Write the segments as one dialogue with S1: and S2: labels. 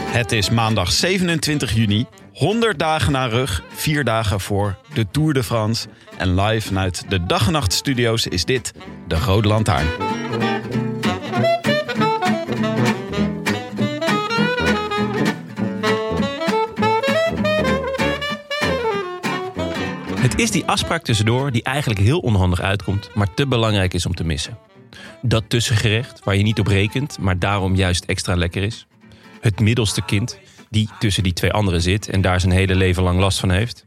S1: Het is maandag 27 juni, 100 dagen na rug, 4 dagen voor de Tour de France. En live vanuit de dag en nacht studio's is dit de Rode Lantaarn.
S2: Het is die afspraak tussendoor die eigenlijk heel onhandig uitkomt, maar te belangrijk is om te missen. Dat tussengerecht waar je niet op rekent, maar daarom juist extra lekker is. Het middelste kind die tussen die twee anderen zit en daar zijn hele leven lang last van heeft.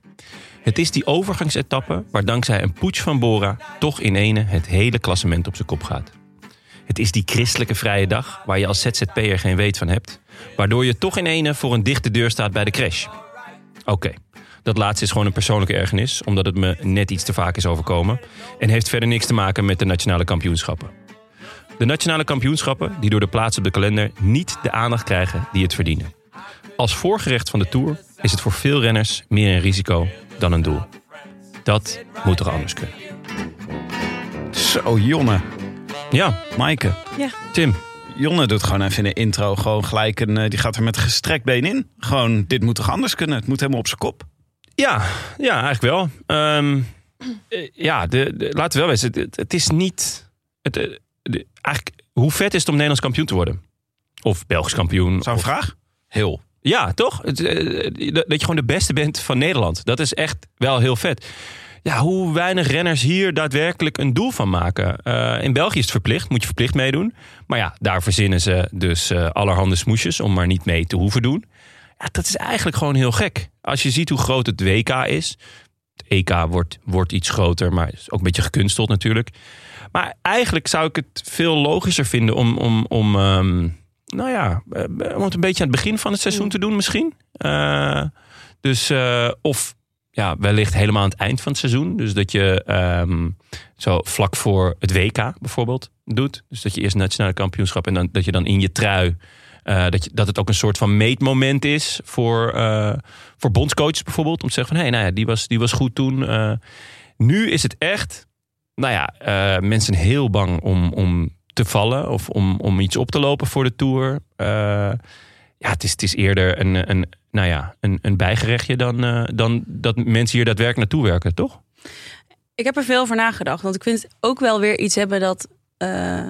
S2: Het is die overgangsetappe waar dankzij een poets van Bora toch in ene het hele klassement op zijn kop gaat. Het is die christelijke vrije dag waar je als ZZP'er geen weet van hebt, waardoor je toch in ene voor een dichte deur staat bij de crash. Oké, dat laatste is gewoon een persoonlijke ergernis, omdat het me net iets te vaak is overkomen en heeft verder niks te maken met de nationale kampioenschappen. De nationale kampioenschappen die door de plaats op de kalender niet de aandacht krijgen die het verdienen. Als voorgerecht van de Tour is het voor veel renners meer een risico dan een doel. Dat moet toch anders kunnen.
S1: Zo, Jonne.
S2: Ja,
S1: Maaike.
S3: Ja,
S2: Tim,
S1: Jonne doet gewoon even een intro. Gewoon gelijk een, eh, die gaat er met gestrekt been in. Gewoon, dit moet toch anders kunnen? Het moet helemaal op zijn kop.
S2: Ja, ja eigenlijk wel. Ehm, eh, ja, de, de- laten we wel wezen. Het, het is niet... Het, eh, de- eigenlijk, hoe vet is het om Nederlands kampioen te worden? Of Belgisch kampioen?
S1: Zo'n
S2: of-
S1: vraag? Heel.
S2: Ja, toch? Het, eh, eh, dat je gewoon de beste bent van Nederland. Dat is echt wel heel vet. Ja, hoe weinig renners hier daadwerkelijk een doel van maken. Eh, in België is het verplicht, moet je verplicht meedoen. Maar ja, daar verzinnen ze dus eh, allerhande smoesjes om maar niet mee te hoeven doen. Ja, dat is eigenlijk gewoon heel gek. Als je ziet hoe groot het WK is. Het EK wordt, wordt iets groter, maar is ook een beetje gekunsteld natuurlijk. Maar eigenlijk zou ik het veel logischer vinden om, om, om ehm, nou ja, eh, om het een beetje aan het begin van het seizoen te doen misschien. Eh, dus, eh, of ja, wellicht helemaal aan het eind van het seizoen. Dus dat je ehm, zo vlak voor het WK bijvoorbeeld doet. Dus dat je eerst nationale kampioenschap en dan, dat je dan in je trui... eh, dat, je, dat het ook een soort van meetmoment is voor, eh, voor bondscoaches bijvoorbeeld. Om te zeggen van, hé, nou ja, die was, die was goed toen. eh. nu is het echt, nou ja, eh, mensen heel bang om, om te vallen of om, om iets op te lopen voor de Tour. Eh, ja, het is, het is eerder een, een, nou ja, een, een bijgerechtje dan, eh, dan dat mensen hier daadwerkelijk naartoe werken, toch?
S3: ik heb er veel over nagedacht. Want ik vind het ook wel weer iets hebben dat eh,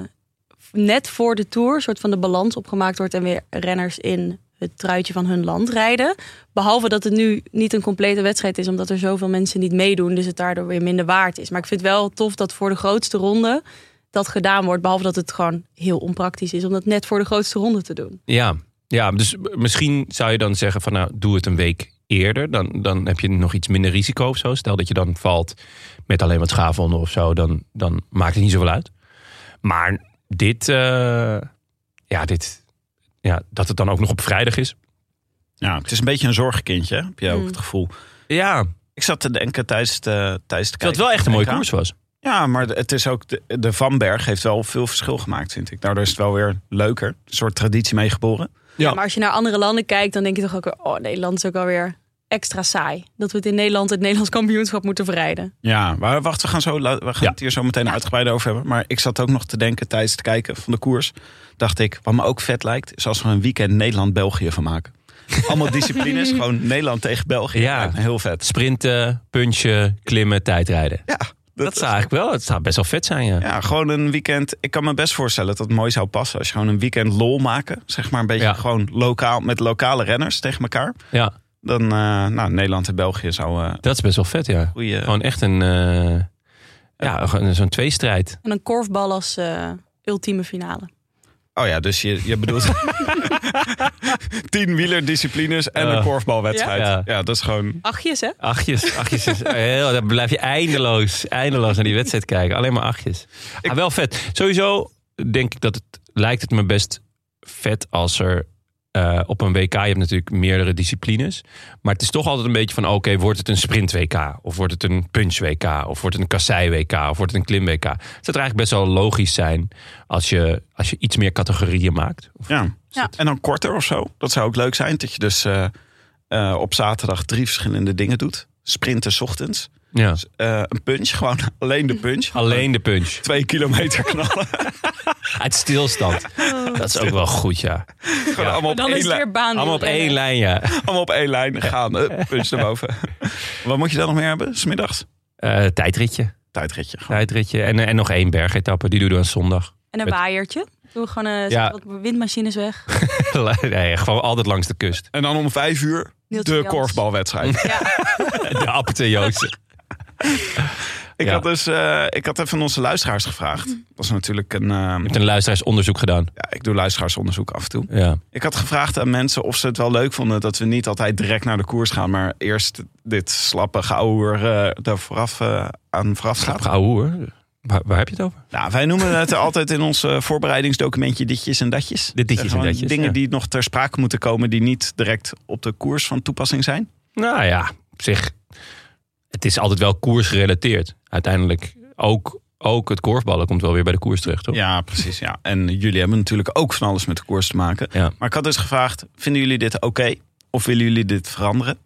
S3: net voor de Tour... soort van de balans opgemaakt wordt... en weer renners in het truitje van hun land rijden. Behalve dat het nu niet een complete wedstrijd is... omdat er zoveel mensen niet meedoen. Dus het daardoor weer minder waard is. Maar ik vind het wel tof dat voor de grootste ronde dat gedaan wordt. Behalve dat het gewoon heel onpraktisch is... om dat net voor de grootste ronde te doen.
S2: Ja, ja dus misschien zou je dan zeggen van nou, doe het een week eerder. Dan, dan heb je nog iets minder risico of zo. Stel dat je dan valt met alleen wat schaafwonden of zo, dan, dan maakt het niet zoveel uit. Maar dit, eh, ja, dit, ja, dat het dan ook nog op vrijdag is.
S1: Ja, het is een beetje een zorgkindje, hè? heb je ook
S3: Mm.
S1: het gevoel.
S2: Ja,
S1: Ik zat te denken tijdens de, tijdens de
S2: dat het wel echt een mooie koers was.
S1: Ja, maar het is ook de, de Van Berg heeft wel veel verschil gemaakt, vind ik. Daardoor is het wel weer leuker. Een soort traditie meegeboren.
S2: Ja.
S3: Maar als je naar andere landen kijkt, dan denk je toch ook... weer, oh, Nederland is ook alweer extra saai. Dat we het in Nederland het Nederlands kampioenschap moeten verrijden.
S1: Ja, maar wacht, we gaan, zo, la- we gaan
S2: Ja.
S1: het hier zo meteen uitgebreid over hebben. Maar ik zat ook nog te denken tijdens het kijken van de koers. Dacht ik, wat me ook vet lijkt, is als we een weekend Nederland-België van maken. Allemaal disciplines, gewoon Nederland tegen België.
S2: Ja.
S1: Lijkt me heel vet.
S2: Sprinten, punchen, klimmen, tijdrijden.
S1: Ja,
S2: Dat,
S1: is-
S2: zou eigenlijk wel. Het zou best wel vet zijn, ja.
S1: Ja, gewoon een weekend. Ik kan me best voorstellen dat het mooi zou passen als je gewoon een weekend lol maken. Zeg maar een beetje
S2: Ja.
S1: gewoon lokaal met lokale renners tegen elkaar.
S2: Ja,
S1: Dan, eh, nou, Nederland en België zou eh
S2: dat is best wel vet, ja.
S1: goede.
S2: Gewoon echt een... eh, ja, gewoon zo'n tweestrijd.
S3: En een korfbal als eh, ultieme finale.
S1: Oh ja, dus je, je bedoelt. tien wielerdisciplines en
S2: Ja.
S1: een korfbalwedstrijd.
S2: Ja.
S1: Ja. dat is gewoon.
S3: Achtjes, hè?
S2: Achtjes, achtjes. is- heel, daar blijf je eindeloos, eindeloos naar die wedstrijd kijken. Alleen maar achtjes.
S1: Ik-
S2: Ah, wel vet. Sowieso denk ik dat het, lijkt het me best vet als er eh, op een WK, je hebt natuurlijk meerdere disciplines. Maar het is toch altijd een beetje van, oké, wordt het een sprint WK? Of wordt het een punch WK? Of wordt het een kassei WK? Of wordt het een klim WK? Het zou eigenlijk best wel logisch zijn als je, als je iets meer categorieën maakt.
S1: Ja.
S3: Ja.
S1: En dan korter of zo. Dat zou ook leuk zijn. Dat je dus eh, eh, op zaterdag drie verschillende dingen doet. Sprinten 's ochtends.
S2: Ja.
S1: Dus, eh, een punch, gewoon alleen de punch.
S2: Alleen de punch.
S1: Twee kilometer knallen.
S2: Uit stilstand. Dat is ook wel goed, ja.
S1: Gewoon allemaal op
S3: Dan
S1: één
S3: is het
S1: lijn.
S3: weer baan.
S2: Allemaal op één lijn, ja.
S1: Allemaal op één lijn gaan. eh, Punch naar boven. Wat moet je dan nog meer hebben? Smiddags?
S2: Eh, tijdritje.
S1: Tijdritje. gewoon.
S2: Tijdritje. En, en nog één bergetappe. Die doen we dan zondag.
S3: En een
S2: Met-
S3: waaiertje. Doe gewoon eh, zet
S2: Ja.
S3: wat windmachines weg.
S2: nee, gewoon altijd langs de kust.
S1: En dan om vijf uur
S3: Niels
S1: de
S3: Jans.
S1: korfbalwedstrijd.
S2: De appete Joosten.
S1: Ik,
S2: Ja.
S1: had dus, eh, ik had even onze luisteraars gevraagd. Dat was natuurlijk een... eh,
S2: Met een luisteraarsonderzoek gedaan.
S1: ja, ik doe luisteraarsonderzoek af en toe.
S2: Ja.
S1: Ik had gevraagd aan mensen of ze het wel leuk vonden... dat we niet altijd direct naar de koers gaan... maar eerst dit slappe gauwer eh daar vooraf, eh, aan vooraf gaat.
S2: Grappig ouwe hoor. Waar, waar heb je het over?
S1: Nou, wij noemen het altijd in ons eh, voorbereidingsdocumentje ditjes en datjes.
S2: De ditjes
S1: Eh,
S2: en
S1: gewoon
S2: datjes,
S1: Dingen
S2: ja.
S1: die nog ter sprake moeten komen die niet direct op de koers van toepassing zijn.
S2: Nou ja, op zich. Het is altijd wel koersgerelateerd. Uiteindelijk ook, ook het korfballen komt wel weer bij de koers terecht, toch?
S1: Ja, precies. Ja. En jullie hebben natuurlijk ook van alles met de koers te maken.
S2: Ja.
S1: Maar ik had dus gevraagd, vinden jullie dit oké? Of willen jullie dit veranderen?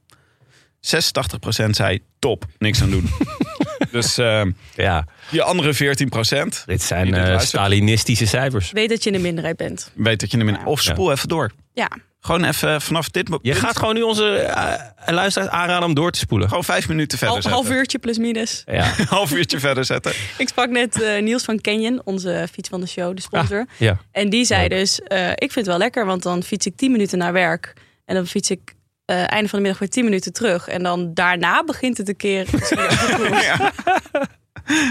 S1: 86% zei top, niks aan doen. dus eh,
S2: Ja,
S1: die andere 14%
S2: dit zijn
S1: Wie dit
S2: eh,
S1: luistert.
S2: Stalinistische cijfers.
S3: Weet dat je in de minderheid bent.
S1: weet dat je hem in... Of spoel even door.
S3: Ja.
S1: Gewoon even vanaf dit moment...
S2: Je gaat gewoon nu onze eh, luisteraars aanraden om door te spoelen.
S1: Gewoon vijf minuten verder
S3: Half,
S1: zetten.
S3: half uurtje plus minus.
S2: Ja.
S1: half uurtje verder zetten.
S3: Ik sprak net eh, Niels van Canyon, onze fiets van de show, de sponsor.
S2: ja.
S3: En die zei dus, eh, ik vind het wel lekker, want dan fiets ik 10 minuten naar werk. En dan fiets ik eh, einde van de middag weer 10 minuten terug. En dan daarna begint het een keer.
S1: Ja.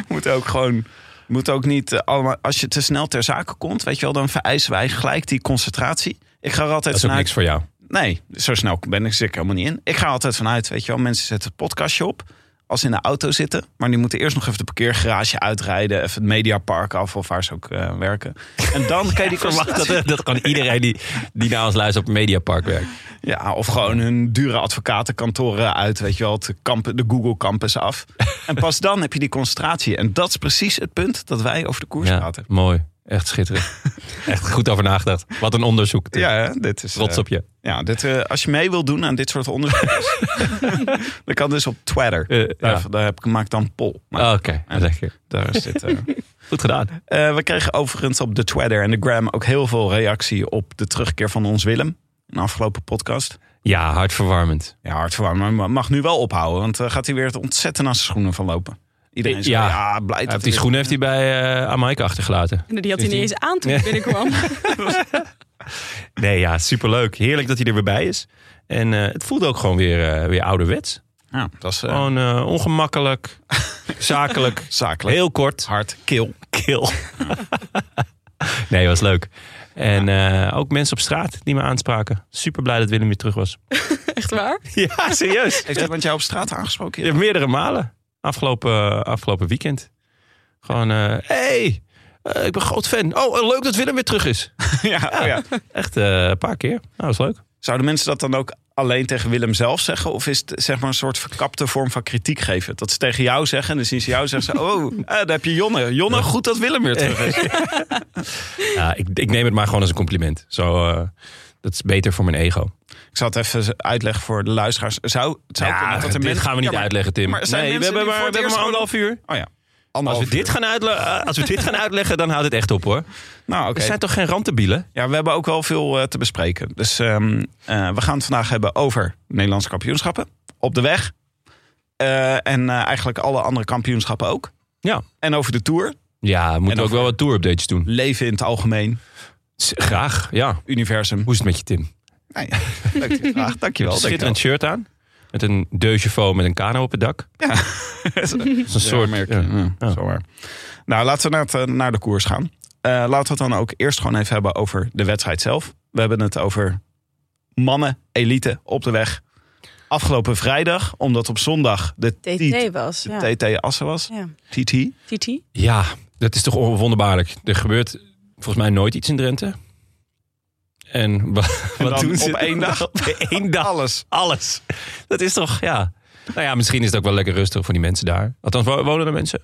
S1: moet ook gewoon. Moet ook niet eh, allemaal. Als je te snel ter zake komt, weet je wel, dan vereisen wij gelijk die concentratie. Ik ga er
S2: Dat
S1: altijd
S2: is ook
S1: vanuit.
S2: niks voor jou.
S1: Nee, zo snel ben ik zeker helemaal niet in. Ik ga er altijd vanuit, weet je wel, mensen zetten het podcastje op. Als ze in de auto zitten, maar die moeten eerst nog even de parkeergarage uitrijden, even het Mediapark af of waar ze ook eh, werken. En dan kan je die
S2: Ik verwacht
S1: concentratie-
S2: dat, dat gewoon iedereen die, die naar ons luistert op Mediapark werkt.
S1: Ja, of gewoon hun dure advocatenkantoren uit, weet je wel, het kamp- de Google Campus af. En pas dan heb je die concentratie. En dat is precies het punt dat wij over de koers
S2: Ja,
S1: praten.
S2: mooi. Echt schitterend. Echt goed over nagedacht. Wat een onderzoek.
S1: Ja, hè, dit is.
S2: Trots
S1: eh,
S2: op je.
S1: ja, dit, eh, als je mee wilt doen aan dit soort onderzoeken, dan kan dus op Twitter.
S2: Eh,
S1: Daar,
S2: ja.
S1: daar heb ik, maak dan een poll. Maar
S2: Ah, Oké, lekker.
S1: daar is dit. eh.
S2: Goed gedaan.
S1: Eh, we kregen overigens op de Twitter en de Gram ook heel veel reactie op de terugkeer van ons Willem. In de afgelopen podcast.
S2: Ja, hartverwarmend.
S1: Ja, hartverwarmend. Maar mag nu wel ophouden, want eh, gaat hij weer het ontzettend aan zijn schoenen van lopen. Iedereen zegt,
S2: Eh, Ja.
S1: ja, blij
S2: Hij
S1: dat
S2: heeft die
S1: hij-
S2: schoenen heeft hij bij eh Amaike achtergelaten.
S3: En die had hij niet eens aan toen ik binnenkwam.
S2: Nee, ja, superleuk. Heerlijk dat hij er weer bij is. En eh, het voelt ook gewoon weer, eh, weer ouderwets.
S1: Ja, dat is eh,
S2: Gewoon eh, ongemakkelijk, zakelijk,
S1: zakelijk.
S2: heel kort.
S1: hard, kil.
S2: Kil. nee, was leuk. En eh, ook mensen op straat die me aanspraken. Super blij dat Willem weer terug was.
S3: Echt waar?
S2: Ja, serieus.
S1: Heeft iemand jou op straat aangesproken?
S2: Ja, meerdere malen. Afgelopen, eh, afgelopen weekend. Gewoon, eh, hey, eh, ik ben groot fan. Oh, eh, leuk dat Willem weer terug is.
S1: ja, oh ja.
S2: Echt eh, een paar keer. Nou, is leuk.
S1: Zouden mensen dat dan ook alleen tegen Willem zelf zeggen? Of is het zeg maar een soort verkapte vorm van kritiek geven? Dat ze tegen jou zeggen en dan zien ze jou zeggen ze... Oh, eh, daar heb je Jonne. Jonne, goed dat Willem weer terug is.
S2: Ja, ik, ik neem het maar gewoon als een compliment. Zo, eh, dat is beter voor mijn ego.
S1: Ik zal het even uitleggen voor de luisteraars. Zou, het zou kunnen dat er
S2: dit
S1: mensen-
S2: gaan we niet
S1: Ja, maar-
S2: uitleggen, Tim.
S1: maar er zijn
S2: nee, we
S1: mensen
S2: hebben
S1: die
S2: maar,
S1: voor
S2: we
S1: het
S2: hebben maar
S1: eerst
S2: anderhalf uur.
S1: Oh ja,
S2: Als
S1: anderhalf
S2: we, dit
S1: uur.
S2: gaan uitle- eh, als we dit gaan uitleggen, dan houdt het echt op hoor.
S1: Nou,
S2: Er
S1: oké.
S2: zijn toch geen randdebielen?
S1: Ja, we hebben ook wel veel eh, te bespreken. Dus ehm, eh, we gaan het vandaag hebben over Nederlandse kampioenschappen. Op de weg. Eh, en eh, eigenlijk alle andere kampioenschappen ook.
S2: Ja.
S1: En over de Tour.
S2: Ja, we
S1: En
S2: moeten
S1: dan-
S2: ook wel wat tour-updates doen.
S1: Leven in het algemeen.
S2: S- Graag, ja.
S1: Universum.
S2: Hoe is het met je, Tim?
S1: Nou ja, leuk die vraag. Dankjewel. dankjewel.
S2: Schitterend shirt aan. Met een deuxje foam met een kano op het dak. Dat is een soort...
S1: merk.
S2: ja.
S1: Ja,
S2: Ja.
S1: Zo waar. Nou, laten we naar, het, eh, naar de koers gaan. Eh, laten we het dan ook eerst gewoon even hebben over de wedstrijd zelf. We hebben het over mannen, elite op de weg. Afgelopen vrijdag, omdat op zondag de
S3: TT was. Ja.
S1: TT Assen was.
S3: Ja.
S1: TT.
S3: TT?
S2: Ja, dat is toch onwonderbaarlijk. Er gebeurt volgens mij nooit iets in Drenthe. En wa- wat
S1: dan
S2: doen
S1: op
S2: ze?
S1: één dag?
S2: Op één dag. Alles. Alles. Dat is toch, ja. Nou ja, misschien is het ook wel lekker rustig voor die mensen daar. Althans, wo- wonen er mensen?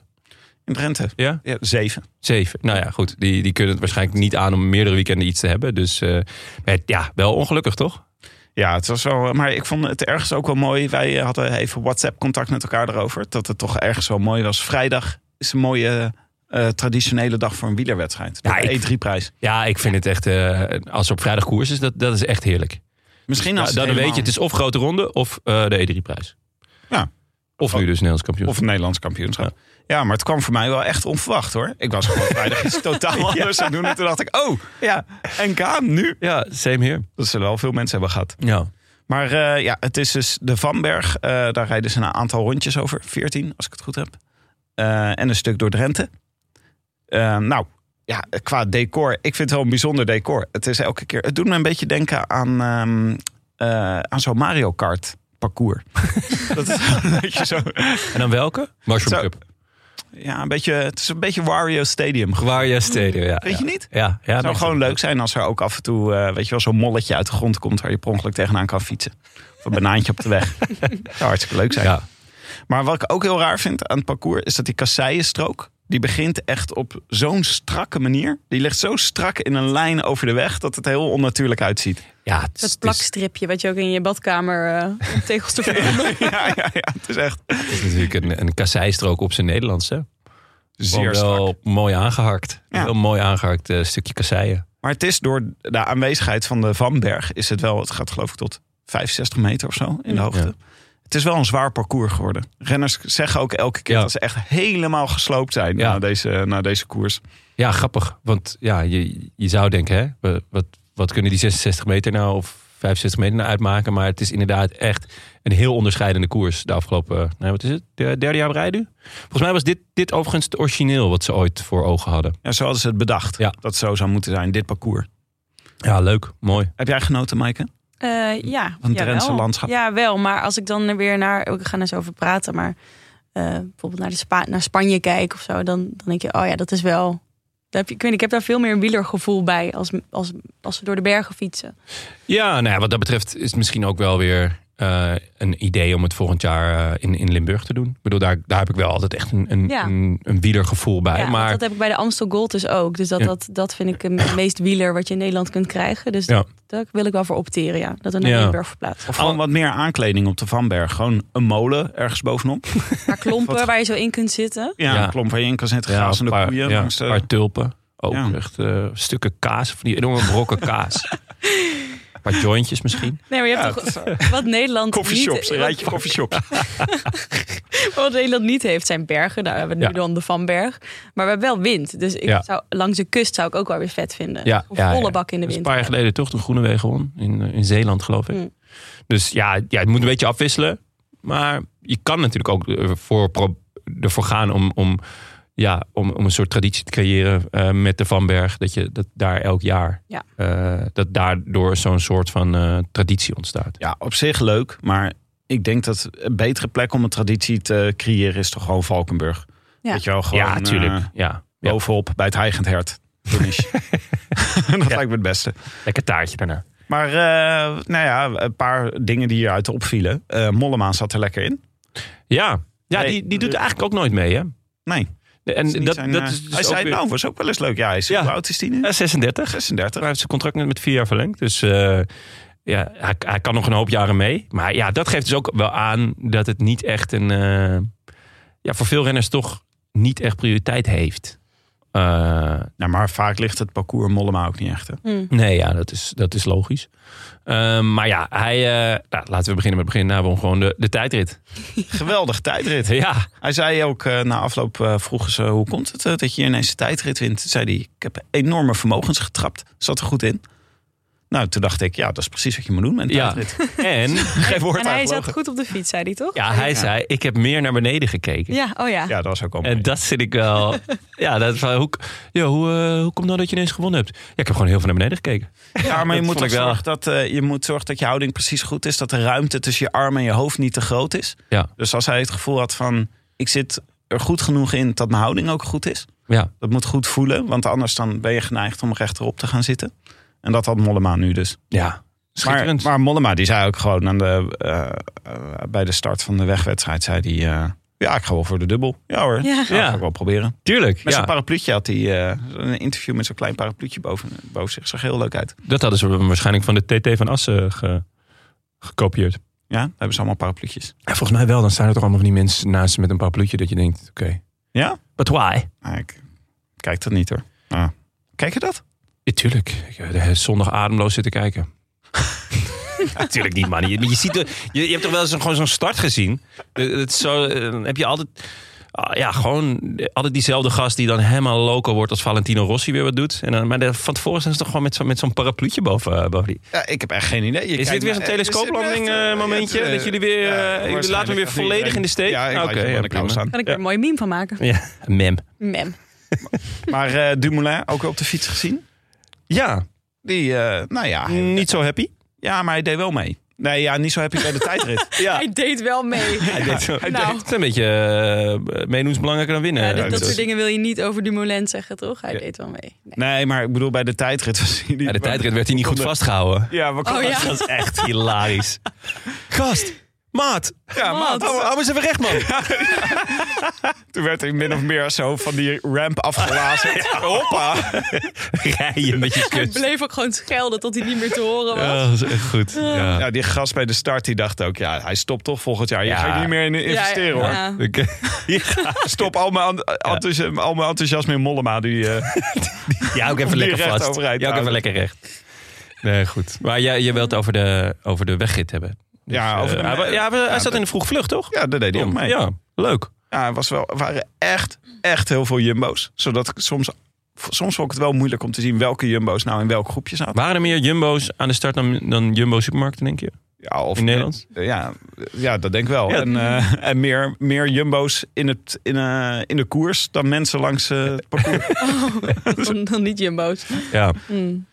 S1: In Drenthe.
S2: Ja?
S1: Ja, zeven.
S2: Zeven. Nou ja, goed. Die, die kunnen het waarschijnlijk niet aan om meerdere weekenden iets te hebben. Dus eh, maar ja, wel ongelukkig, toch?
S1: Ja, het was wel. eh, Maar ik vond het ergens ook wel mooi. Wij eh, hadden even WhatsApp-contact met elkaar erover. Dat het toch ergens wel mooi was. Vrijdag is een mooie eh, traditionele dag voor een wielerwedstrijd.
S2: Ja,
S1: de E
S2: ik-
S1: E3-prijs.
S2: Ja, ik vind het echt, eh, als er op vrijdag koers is, dat, dat is echt heerlijk.
S1: Misschien als
S2: Nou,
S1: het
S2: dan weet
S1: helemaal-
S2: je, het is of grote ronde of eh, de E3-prijs.
S1: Ja.
S2: Of nu dus Nederlands kampioen.
S1: Of een Nederlands kampioenschap. Ja. maar het kwam voor mij wel echt onverwacht hoor. Ik was gewoon vrijdag iets totaal anders aan het doen. En toen dacht ik, oh ja, NK nu.
S2: Ja, same hier.
S1: Dat zullen wel veel mensen hebben gehad.
S2: Ja.
S1: Maar eh, ja, het is dus de Vanberg. Eh, daar rijden ze een aantal rondjes over. 14, als ik het goed heb. Eh, en een stuk door Drenthe. Eh, nou, ja, qua decor. Ik vind het wel een bijzonder decor. Het is elke keer. Het doet me een beetje denken aan, ehm, eh, aan zo'n Mario Kart parcours. dat is een beetje zo.
S2: En dan welke? Mushroom
S1: Zo.
S2: Cup.
S1: Ja, een beetje, het is een beetje Wario Stadium.
S2: Waria Stadium, ja.
S1: Weet je niet?
S2: Ja, ja.
S1: Het zou
S2: dat-
S1: gewoon leuk zijn als er ook af en toe, eh, weet je wel, zo'n molletje uit de grond komt waar je per ongeluk tegenaan kan fietsen. Of een banaantje op de weg. Dat zou hartstikke leuk zijn.
S2: Ja.
S1: Maar wat ik ook heel raar vind aan het parcours is dat die kasseienstrook, die begint echt op zo'n strakke manier. Die ligt zo strak in een lijn over de weg dat het heel onnatuurlijk uitziet.
S2: ja het is-
S3: Dat
S2: het is-
S3: plakstripje wat je ook in je badkamer eh, om tegels te verbinden.
S1: ja, ja, ja, het is echt
S2: het is natuurlijk een, een kasseistrook op zijn Nederlands, hè?
S1: zeer
S2: Gewoon
S1: strak.
S2: wel mooi aangehakt.
S1: Ja.
S2: Heel mooi aangehakt eh, stukje kasseien.
S1: Maar het is door de aanwezigheid van de Vanberg is het wel, het gaat geloof ik tot 65 meter of zo in de hoogte.
S2: Ja.
S1: Het is wel een zwaar parcours geworden. Renners zeggen ook elke keer
S2: Ja.
S1: dat ze echt helemaal gesloopt zijn
S2: Ja.
S1: na, deze, na deze koers.
S2: Ja, grappig. Want ja, je, je zou denken, hè? wa- Wat, wat kunnen die 66 meter nou of 65 meter nou uitmaken? Maar het is inderdaad echt een heel onderscheidende koers de afgelopen, eh, nou, wat is het, de- derde jaar op rij nu? Volgens mij was dit, dit overigens het origineel wat ze ooit voor ogen hadden.
S1: Ja, zo hadden ze het bedacht
S2: Ja.
S1: dat het zo zou moeten zijn, dit parcours.
S2: Ja, leuk. Mooi.
S1: Heb jij genoten, Maaike?
S3: Eh, ja,
S1: Van het
S3: jawel.
S1: Drentse landschap.
S3: Ja, wel. Maar als ik dan weer naar... oh, We gaan er zo over praten, maar eh, bijvoorbeeld naar, de Spa- naar Spanje kijk of zo... Dan, dan denk je, oh ja, dat is wel... daar heb je- ik, weet, niet, ik heb daar veel meer een wielergevoel bij als, als, als we door de bergen fietsen.
S2: Ja, nou ja, wat dat betreft is het misschien ook wel weer eh, een idee om het volgend jaar eh, in, in Limburg te doen. Ik bedoel, daar, daar heb ik wel altijd echt een, een,
S3: Ja.
S2: een, een wielergevoel bij.
S3: Ja, want
S2: maar
S3: Dat heb ik bij de Amstel Gold dus ook. Dus dat,
S2: Ja.
S3: dat, dat vind ik het meest wieler wat je in Nederland kunt krijgen. Dus
S2: Ja.
S3: daar wil ik wel voor opteren, ja. Dat we naar
S2: Ja.
S3: Limburg verplaatsen.
S1: Of gewoon wat meer aankleding op de Vanberg. Gewoon een molen ergens bovenop.
S3: Maar klompen waar je zo in kunt zitten.
S1: Ja,
S2: Ja.
S1: een klomp waar je in kan zetten,
S2: ja,
S1: grazende
S2: een paar,
S1: koeien.
S2: ja,
S1: langs de-
S2: een paar tulpen. Ook
S1: Ja.
S2: echt eh, stukken kaas, van die enorme brokken kaas. Een paar jointjes misschien.
S3: Nee, maar je hebt toch wat Nederland
S1: coffeeshops, een
S3: niet...
S1: rijtje coffeeshops.
S3: Wat Nederland niet heeft zijn bergen. Nou, we hebben nu
S2: Ja.
S3: dan de Vanberg. Maar we hebben wel wind. Dus ik
S2: Ja.
S3: zou, langs de kust zou ik ook wel weer vet vinden.
S2: Ja,
S3: Of
S2: ja, ja.
S3: volle bak in de
S2: Dat is
S3: wind.
S2: een paar jaar geleden toch toen Groenewegen won. In, eh, in Zeeland geloof ik.
S3: Mm.
S2: Dus ja, ja, het moet een beetje afwisselen. Maar je kan natuurlijk ook eh, voor, pro- ervoor gaan om, om, ja, om, om een soort traditie te creëren eh, met de Vanberg. Dat je dat daar elk jaar,
S3: Ja.
S2: eh, dat daardoor zo'n soort van eh, traditie ontstaat.
S1: Ja, op zich leuk, maar ik denk dat een betere plek om een traditie te creëren is toch gewoon Valkenburg.
S3: Ja.
S1: Weet je wel, gewoon
S2: ja, tuurlijk.
S1: eh,
S2: ja. ja,
S1: bovenop bij het Heigend Hert. Finish. dat lijkt me het beste.
S2: lekker taartje daarna.
S1: Maar eh, nou ja, een paar dingen die hieruit opvielen. Eh Mollema zat er lekker in.
S2: Ja, ja
S1: Nee,
S2: die, die doet
S1: eh,
S2: eigenlijk ook nooit mee, hè?
S1: Nee.
S2: En
S1: is niet
S2: dat,
S1: zijn,
S2: dat
S1: eh,
S2: is dus
S1: hij
S2: ook
S1: zei,
S2: weer-
S1: nou, was ook wel eens leuk. Ja, hij is,
S2: Ja.
S1: hoe oud is hij nu?
S2: Eh, 36.
S1: 36.
S2: Hij heeft zijn contract net met vier jaar verlengd. Dus eh, ja, hij, hij kan nog een hoop jaren mee. Maar ja, dat geeft dus ook wel aan dat het niet echt een... eh, ja, voor veel renners toch niet echt prioriteit heeft. Eh,
S1: Nou, maar vaak ligt het parcours Mollema ook niet echt. Hè?
S2: nee, ja, dat is, dat is logisch. Eh, maar ja, hij, eh, nou, laten we beginnen met het begin. Nou, hebben we gewoon de, de tijdrit.
S1: Geweldig tijdrit.
S2: Ja,
S1: Hij zei ook eh, na afloop, eh, vroegen ze hoe komt het eh, dat je ineens de tijdrit wint? Toen zei hij, ik heb enorme vermogens getrapt. Zat er goed in. Nou, toen dacht ik, ja, dat is precies wat je moet doen met een
S2: Ja.
S1: tijdrit.
S2: en
S1: Geen woord
S3: En hij
S1: uitgelogen.
S3: zat goed op de fiets, zei hij toch?
S2: ja, hij
S1: Ja.
S2: zei, ik heb meer naar beneden gekeken.
S3: Ja, oh ja.
S1: Ja, dat was ook al mooi.
S2: En dat vind ik wel... ja, dat, is wel- hoe, ja, hoe, eh, hoe komt nou dat je ineens gewonnen hebt? Ja, ik heb gewoon heel veel naar beneden gekeken.
S1: Ja, maar je
S2: dat
S1: moet,
S2: vond
S1: ook
S2: ik wel.
S1: zorgen dat, eh, je moet zorgen dat je houding precies goed is. Dat de ruimte tussen je arm en je hoofd niet te groot is.
S2: Ja.
S1: Dus als hij het gevoel had van, ik zit er goed genoeg in dat mijn houding ook goed is.
S2: Ja,
S1: Dat moet goed voelen, want anders dan ben je geneigd om rechterop te gaan zitten. En dat had Mollema nu dus.
S2: ja.
S1: Maar,
S2: schitterend.
S1: maar Mollema die zei ook gewoon aan de, eh, eh, bij de start van de wegwedstrijd, zei die eh, ja, ik ga wel voor de dubbel. Ja hoor,
S3: Ja.
S1: ja.
S2: Ja.
S1: ga ik wel proberen.
S2: Tuurlijk,
S1: Met
S2: ja.
S1: zo'n parapluutje had hij eh, een interview met zo'n klein parapluutje boven, boven zich. Zag heel leuk uit.
S2: dat hadden ze waarschijnlijk van de TT van Assen eh, ge- gekopieerd.
S1: Ja, daar hebben ze allemaal parapluutjes.
S2: Ja, volgens mij wel. Dan staan er toch allemaal van die mensen naast met een parapluutje dat je denkt, oké.
S1: Ja?
S2: But why?
S1: Nou, ik kijk dat niet hoor. Ah. Kijk je dat?
S2: Ja, tuurlijk. Ik heb de hele zondag ademloos zitten kijken. Natuurlijk niet, man. Je, je, ziet, de- je, je hebt toch wel eens een- gewoon zo'n start gezien? Eh, Het is zo, eh, dan heb je altijd... ah, Ja, gewoon altijd diezelfde gast die dan helemaal loco wordt als Valentino Rossi weer wat doet. En dan, maar de- van tevoren zijn ze toch gewoon met zo'n met zo'n parapluutje boven, eh, boven die...
S1: Ja, ik heb echt geen idee. Je
S2: Is dit
S1: kijkt
S2: weer
S1: naar-
S2: zo'n
S1: eh, is dit
S2: telescooplanding
S1: echt, eh,
S2: eh, momentje?
S1: ja, het, eh,
S2: dat jullie weer...
S1: ja,
S2: eh, jullie laten me
S1: waarschijnlijk
S2: weer
S1: dat
S2: volledig
S1: iedereen-
S2: in de steek?
S1: Ja, ik
S2: Ah,
S1: laat
S2: Oké,
S1: je gewoon
S2: ja,
S1: aan de kou
S2: prima.
S1: staan.
S3: Kan ik weer een mooi meme van maken.
S2: Ja, mem.
S3: Mem.
S1: Maar eh, Dumoulin, ook weer op de fiets gezien.
S2: Ja,
S1: Die, eh, nou ja, hij-
S2: niet zo happy.
S1: ja, maar hij deed wel mee. Nee, ja, niet zo heb ik bij de tijdrit.
S2: Ja.
S3: Hij deed wel mee.
S2: Hij deed zo.
S3: Nou.
S2: Het is een beetje eh, meedoen is belangrijker dan winnen.
S3: Ja, dit-
S1: dat
S3: dat
S1: is-
S3: soort dingen wil je niet over Dumoulin zeggen, toch? Hij
S1: Ja.
S3: deed wel mee. Nee.
S1: Nee, maar ik bedoel, bij de tijdrit was hij niet...
S2: Bij de tijdrit werd hij niet goed vastgehouden.
S1: Ja, we
S3: Oh
S1: konden-
S3: ja.
S2: Dat is echt hilarisch. Gast, maat,
S1: ja, maar
S3: Wat?
S2: hou eens even recht, man.
S1: toen werd hij min of meer zo van die ramp afgelazen. Hoppa!
S2: Rijden met je
S3: Hij
S2: kut.
S3: bleef ook gewoon schelden tot hij niet meer te horen was.
S2: Ja, dat is echt goed. Ja.
S1: Ja, die gast bij de start, die dacht ook, ja, hij stopt toch volgend jaar. Je
S2: Ja.
S1: gaat niet meer in investeren, hoor.
S3: Ja.
S2: Oké.
S1: Stop al mijn, ent- enthousiasme, al mijn enthousiasme in Mollema. Die, eh,
S2: Ja, ook even
S1: Die
S2: lekker
S1: recht
S2: vast.
S1: overeind
S2: Ja, ook even
S1: houden.
S2: lekker recht. Nee, goed. Maar jij, je wilt over de, over de wegrit hebben. Dus,
S1: Ja, Ah, over
S2: eh,
S1: de-
S2: hij, ja, hij
S1: ja,
S2: zat in de vroeg vlucht, toch?
S1: ja, daar deed hij ook mee.
S2: Ja, leuk.
S1: Ja, er was wel, er waren echt, echt heel veel jumbo's. Zodat ik soms, soms vond ik het wel moeilijk om te zien welke jumbo's nou in welk groepje zaten.
S2: Waren er meer jumbo's aan de start dan, dan jumbo-supermarkten, denk je?
S1: Ja, of
S2: In Nederland?
S1: Ja, ja dat denk ik wel.
S2: Ja.
S1: En, eh, en meer, meer jumbo's in, het, in, eh, in de koers dan mensen langs eh, het parcours.
S3: Dan, dan niet Jumbo's.
S2: Ja.
S3: Hmm.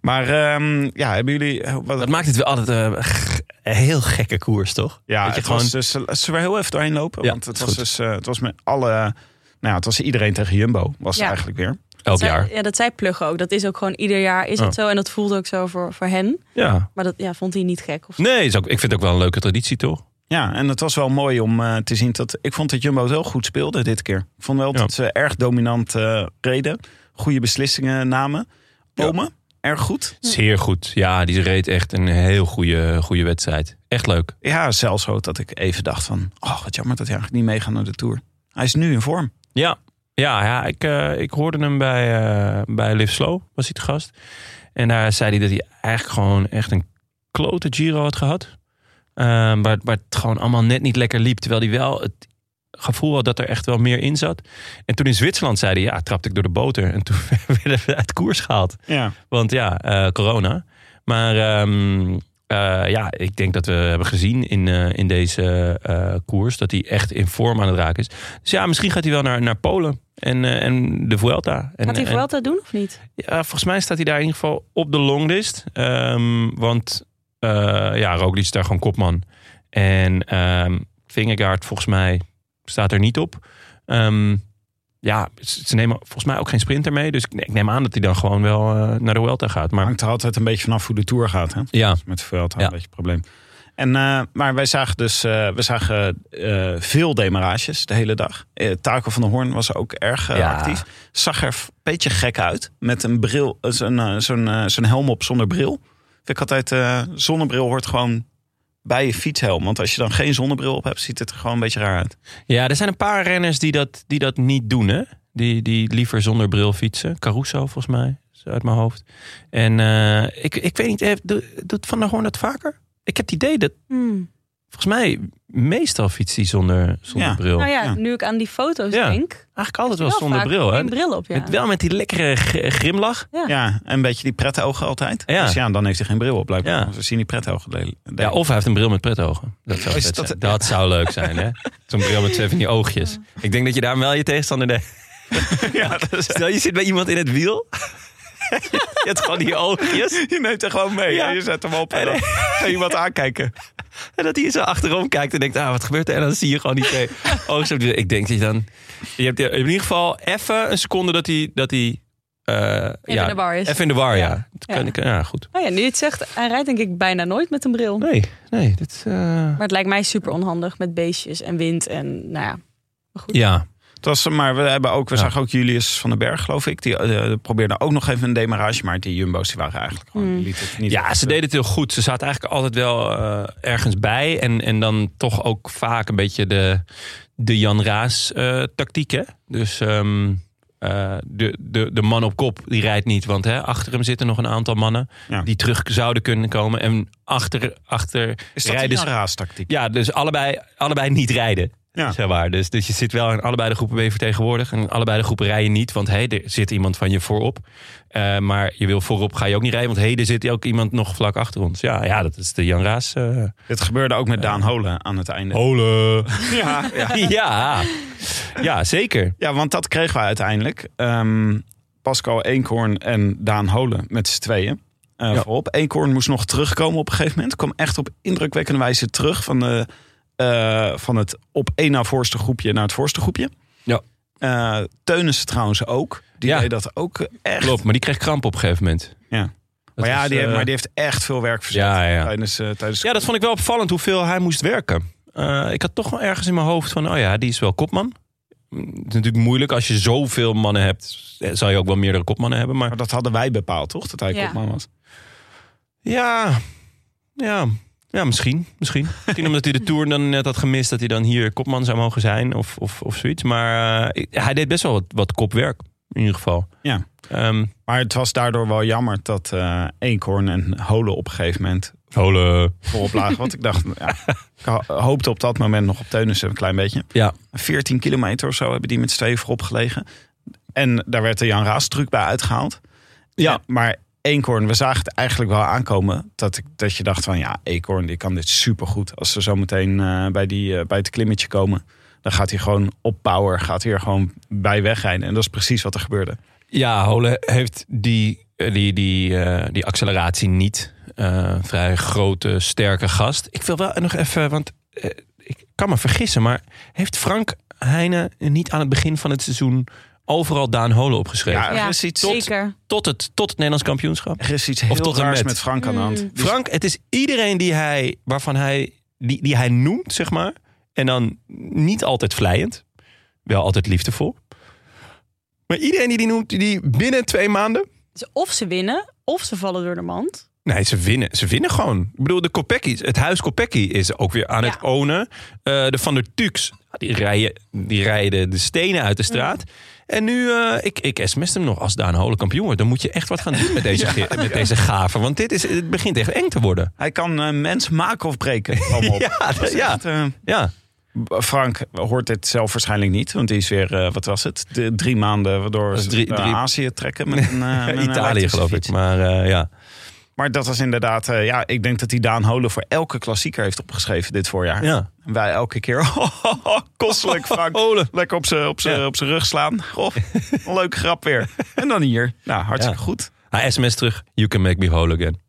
S1: maar ehm, ja, hebben jullie... eh, Wat,
S2: Dat maakt het wel altijd eh, g- een heel gekke koers, toch?
S1: ja,
S2: dat je
S1: het
S2: gewoon...
S1: was dus, zullen we heel even doorheen lopen?
S2: Ja,
S1: want het
S2: is
S1: was,
S2: goed.
S1: dus, eh, het was met alle... Nou, ja, het was iedereen tegen Jumbo, was het
S3: Ja.
S1: eigenlijk weer.
S2: Elk
S3: Zij-
S2: jaar.
S3: Ja, dat zij pluggen ook. Dat is ook gewoon ieder jaar is
S2: Oh.
S3: het zo. En dat voelde ook zo voor, voor hen.
S2: Ja.
S3: Maar dat ja, vond hij niet gek. Of zo.
S2: Nee, is ook, ik vind het ook wel een leuke traditie, toch?
S1: Ja, en het was wel mooi om eh, te zien dat... Ik vond dat Jumbo het heel goed speelde dit keer. Ik vond wel
S2: Ja.
S1: dat ze erg dominant eh, reden. Goede beslissingen namen.
S2: Ja.
S1: Omen, erg goed.
S2: Zeer goed. Ja, die reed echt een heel goede, goede wedstrijd. Echt leuk.
S1: Ja, zelfs zo dat ik even dacht van... Oh, wat jammer dat hij eigenlijk niet meegaat naar de Tour. Hij is nu in vorm.
S2: Ja, ja, ja ik, eh, ik hoorde hem bij, eh bij Live Slow, was hij te gast. En daar zei hij dat hij eigenlijk gewoon echt een klote Giro had gehad. Eh, waar, waar het gewoon allemaal net niet lekker liep. Terwijl hij wel het gevoel had dat er echt wel meer in zat. En toen in Zwitserland zei hij, ja, trapte ik door de boter. En toen werden we uit koers gehaald.
S1: Ja.
S2: Want ja, eh, corona. Maar ehm, eh, ja, ik denk dat we hebben gezien in, eh, in deze eh, koers dat hij echt in vorm aan het raken is. Dus ja, misschien gaat hij wel naar, naar Polen en, eh, en de Vuelta. En,
S3: Gaat hij
S2: en-
S3: voor altijd doen of niet?
S2: ja, volgens mij staat hij daar in ieder geval op de longlist. Ehm, want eh ja, Roglic is daar gewoon kopman. En ehm Vingegaard volgens mij staat er niet op. Ehm, ja, ze ze nemen volgens mij ook geen sprinter mee. Dus ik, ik neem aan dat hij dan gewoon wel eh, naar de Vuelta gaat. Maar
S1: Hangt er altijd een beetje vanaf hoe de Tour gaat, hè?
S2: ja,
S1: Met de Vuelta
S2: Ja.
S1: een beetje een probleem. En, eh, maar wij zagen dus eh, we zagen, eh, veel demarages de hele dag. Eh, Taco van der Hoorn was ook erg eh,
S2: Ja.
S1: actief. Zag er een beetje gek uit. Met een bril, eh, zo'n, eh, zo'n, eh, zo'n helm op zonder bril. Vind ik altijd, eh, zonnebril hoort gewoon bij je fietshelm. Want als je dan geen zonnebril op hebt, ziet het er gewoon een beetje raar uit.
S2: ja, er zijn een paar renners die dat, die dat niet doen. Hè? Die, die liever zonder bril fietsen. Caruso, volgens mij. is Uit mijn hoofd. En eh, ik, ik weet niet, eh, doet doet Van der Hoorn dat vaker? Ik heb het idee dat,
S3: Hmm.
S2: volgens mij, meestal fietst hij zonder, zonder
S1: Ja.
S2: bril.
S3: Nou ja,
S1: Ja.
S3: nu ik aan die foto's
S2: Ja.
S3: denk.
S2: Eigenlijk altijd wel,
S3: wel
S2: zonder
S3: vaak
S2: bril. Hè?
S3: Een bril op, ja.
S2: Met, wel met die lekkere g- grimlach.
S1: Ja, en een beetje die pretogen altijd.
S2: Ja.
S1: Dus ja, dan heeft hij geen bril op blijkbaar.
S2: Ja.
S1: Want We zien die pretogen delen.
S2: Ja, of hij heeft een bril met pretogen. Dat zou,
S1: Oh, is
S2: vet
S1: dat-
S2: zijn. dat zou leuk zijn, hè? Zo'n bril met twee van die oogjes. Ik denk dat je daar wel je tegenstander deed. Stel, je zit bij iemand in het wiel. je hebt gewoon die oogjes.
S1: Je neemt er gewoon mee.
S2: Ja.
S1: hè? Je zet hem op en dan ga je iemand aankijken.
S2: En dat hij zo achterom kijkt en denkt, ah, wat gebeurt er? En dan zie je gewoon die twee oogjes. op die- Ik denk dat je dan... Je hebt in ieder geval even een seconde dat hij... Dat hij eh, ja,
S3: in de war is.
S2: Even in de war, ja. Ja,
S3: Ja.
S2: Kan, kan- ja goed.
S3: Nou ja, nu je het zegt, hij rijdt denk ik bijna nooit met een bril.
S2: Nee, nee, dit... eh,
S3: Maar het lijkt mij super onhandig met beestjes en wind en nou ja. Maar goed.
S2: Ja,
S1: Het was, maar we, hebben ook, we
S2: Ja.
S1: zagen ook Julius van den Berg, geloof ik. Die eh, probeerde ook nog even een demarage. Maar die Jumbo's die waren eigenlijk gewoon... die lieten het niet eh.
S2: Ja, ze deden het heel goed. Ze zaten eigenlijk altijd wel eh, ergens bij. En, en dan toch ook vaak een beetje de, de Jan Raas eh, tactiek. Hè? Dus ehm, eh, de, de, de man op kop die rijdt niet. Want hè, achter hem zitten nog een aantal mannen
S1: Ja.
S2: die terug zouden kunnen komen. En achter, achter
S1: Is dat
S2: rijden
S1: een
S2: ze-
S1: raastactiek?
S2: ja, dus allebei, allebei niet rijden.
S1: Ja.
S2: Zeg maar. dus, dus je zit wel in allebei de groepen ben je vertegenwoordigd. En allebei de groepen rijden niet, want hey, er zit iemand van je voorop. Eh, maar je wil voorop ga je ook niet rijden, want hey, er zit ook iemand nog vlak achter ons. Ja, ja dat is de Jan Raas. eh
S1: Dit gebeurde ook met Daan Holen aan het einde.
S2: Oh. Ole.
S1: Ja, ja.
S2: Ja. ja, zeker.
S1: ja, want dat kregen we uiteindelijk. Ehm, Pascal Eenkhoorn en Daan Holen met z'n tweeën. eh,
S2: Ja.
S1: voorop. Eenkhoorn moest nog terugkomen op een gegeven moment. Kwam echt op indrukwekkende wijze terug van, de, eh, van het op één na voorste groepje naar het voorste groepje.
S2: Ja.
S1: Eh, Teunissen trouwens ook. Die
S2: Ja.
S1: deed dat ook echt.
S2: Klopt, maar die kreeg kramp op een gegeven moment.
S1: Ja.
S2: Dat
S1: Maar ja,
S2: was,
S1: die, heeft-
S2: eh,
S1: maar die heeft echt veel werk verzet
S2: ja, ja.
S1: tijdens... eh, tijdens
S2: Dus Ja, dat vond ik wel opvallend hoeveel hij moest werken. Eh, ik had toch wel ergens in mijn hoofd van, oh ja, die is wel kopman. Mm, Het is natuurlijk moeilijk als je zoveel mannen hebt. eh, Zou je ook wel meerdere kopmannen hebben. Maar
S1: Maar dat hadden wij bepaald, toch? Dat hij
S3: Ja.
S1: kopman was.
S2: ja, ja, ja misschien. Misschien, misschien omdat hij de Tour dan net had gemist. Dat hij dan hier kopman zou mogen zijn of, of, of zoiets. Maar eh, hij deed best wel wat, wat kopwerk in ieder geval.
S1: Ja.
S2: Ehm,
S1: Maar het was daardoor wel jammer dat eh Eenkhoorn en Holen op een gegeven moment
S2: Holen.
S1: voorop lagen. Want ik dacht, ja, ik ho- hoopte op dat moment nog op Teunissen een klein beetje.
S2: Ja.
S1: 14 kilometer of zo hebben die met z'n tweeën voorop gelegen. En daar werd de Jan Raas truc bij uitgehaald.
S2: Ja.
S1: En- maar Eenkhoorn, we zagen het eigenlijk wel aankomen. Dat, ik, dat je dacht van, ja, Eenkhoorn die kan dit supergoed. Als ze zo meteen eh, bij, die, eh, bij het klimmetje komen... dan gaat hij gewoon op power, gaat hij er gewoon bij wegrijden. En dat is precies wat er gebeurde.
S2: Ja, Hole heeft die, eh, die, die, eh, die acceleratie niet. Eh, vrij grote, sterke gast. Ik wil wel nog even, want eh, ik kan me vergissen, maar heeft Frank Heijnen niet aan het begin van het seizoen overal Daan Hole opgeschreven?
S1: Ja, er is iets-
S3: zeker.
S2: Tot, het, tot het Nederlands kampioenschap.
S1: Er is iets heel
S2: tot en
S1: raars
S2: met.
S1: met Frank aan de hand.
S3: Mm.
S1: Dus-
S2: Frank, het is iedereen die hij, waarvan hij, die, die hij noemt, zeg maar. En dan niet altijd vlijend, wel altijd liefdevol. Maar iedereen die die noemt, die binnen twee maanden
S3: Dus of ze winnen, of ze vallen door de mand.
S2: Nee, ze winnen. Ze winnen gewoon. Ik bedoel, de Kopecky, het huis Kopecky is ook weer aan
S3: Ja.
S2: het ownen. Eh, de Van der Tux, die rijden, die rijden de stenen uit de straat.
S3: Mm.
S2: En nu, eh, ik, ik sms hem nog als Daan Holen kampioen wordt. Dan moet je echt wat gaan doen met deze, ge- met deze gaven. Want dit is, het begint echt eng te worden.
S1: Hij kan eh, mens maken of breken. Kom op.
S2: Ja,
S1: Dat is
S2: ja.
S1: echt, eh,
S2: Ja,
S1: Frank hoort dit zelf waarschijnlijk niet. Want die is weer, eh, wat was het? De, drie maanden waardoor
S2: Dat is
S1: ze
S2: drie-
S1: naar
S2: drie-
S1: Azië trekken. Met een, eh, met een
S2: Italië
S1: elektrische
S2: geloof
S1: fiets.
S2: ik. Maar eh, ja.
S1: Maar dat was inderdaad... eh, ja, ik denk dat hij Daan Holen voor elke klassieker heeft opgeschreven dit voorjaar.
S2: ja.
S1: En wij elke keer... oh, kostelijk Frank.
S2: Holen.
S1: Lekker op zijn op zijn-
S2: Ja.
S1: op zijn rug slaan. Goh, een leuke grap weer. En dan hier. Nou, hartstikke
S2: Ja.
S1: goed.
S2: Hij sms terug, you can make me whole again.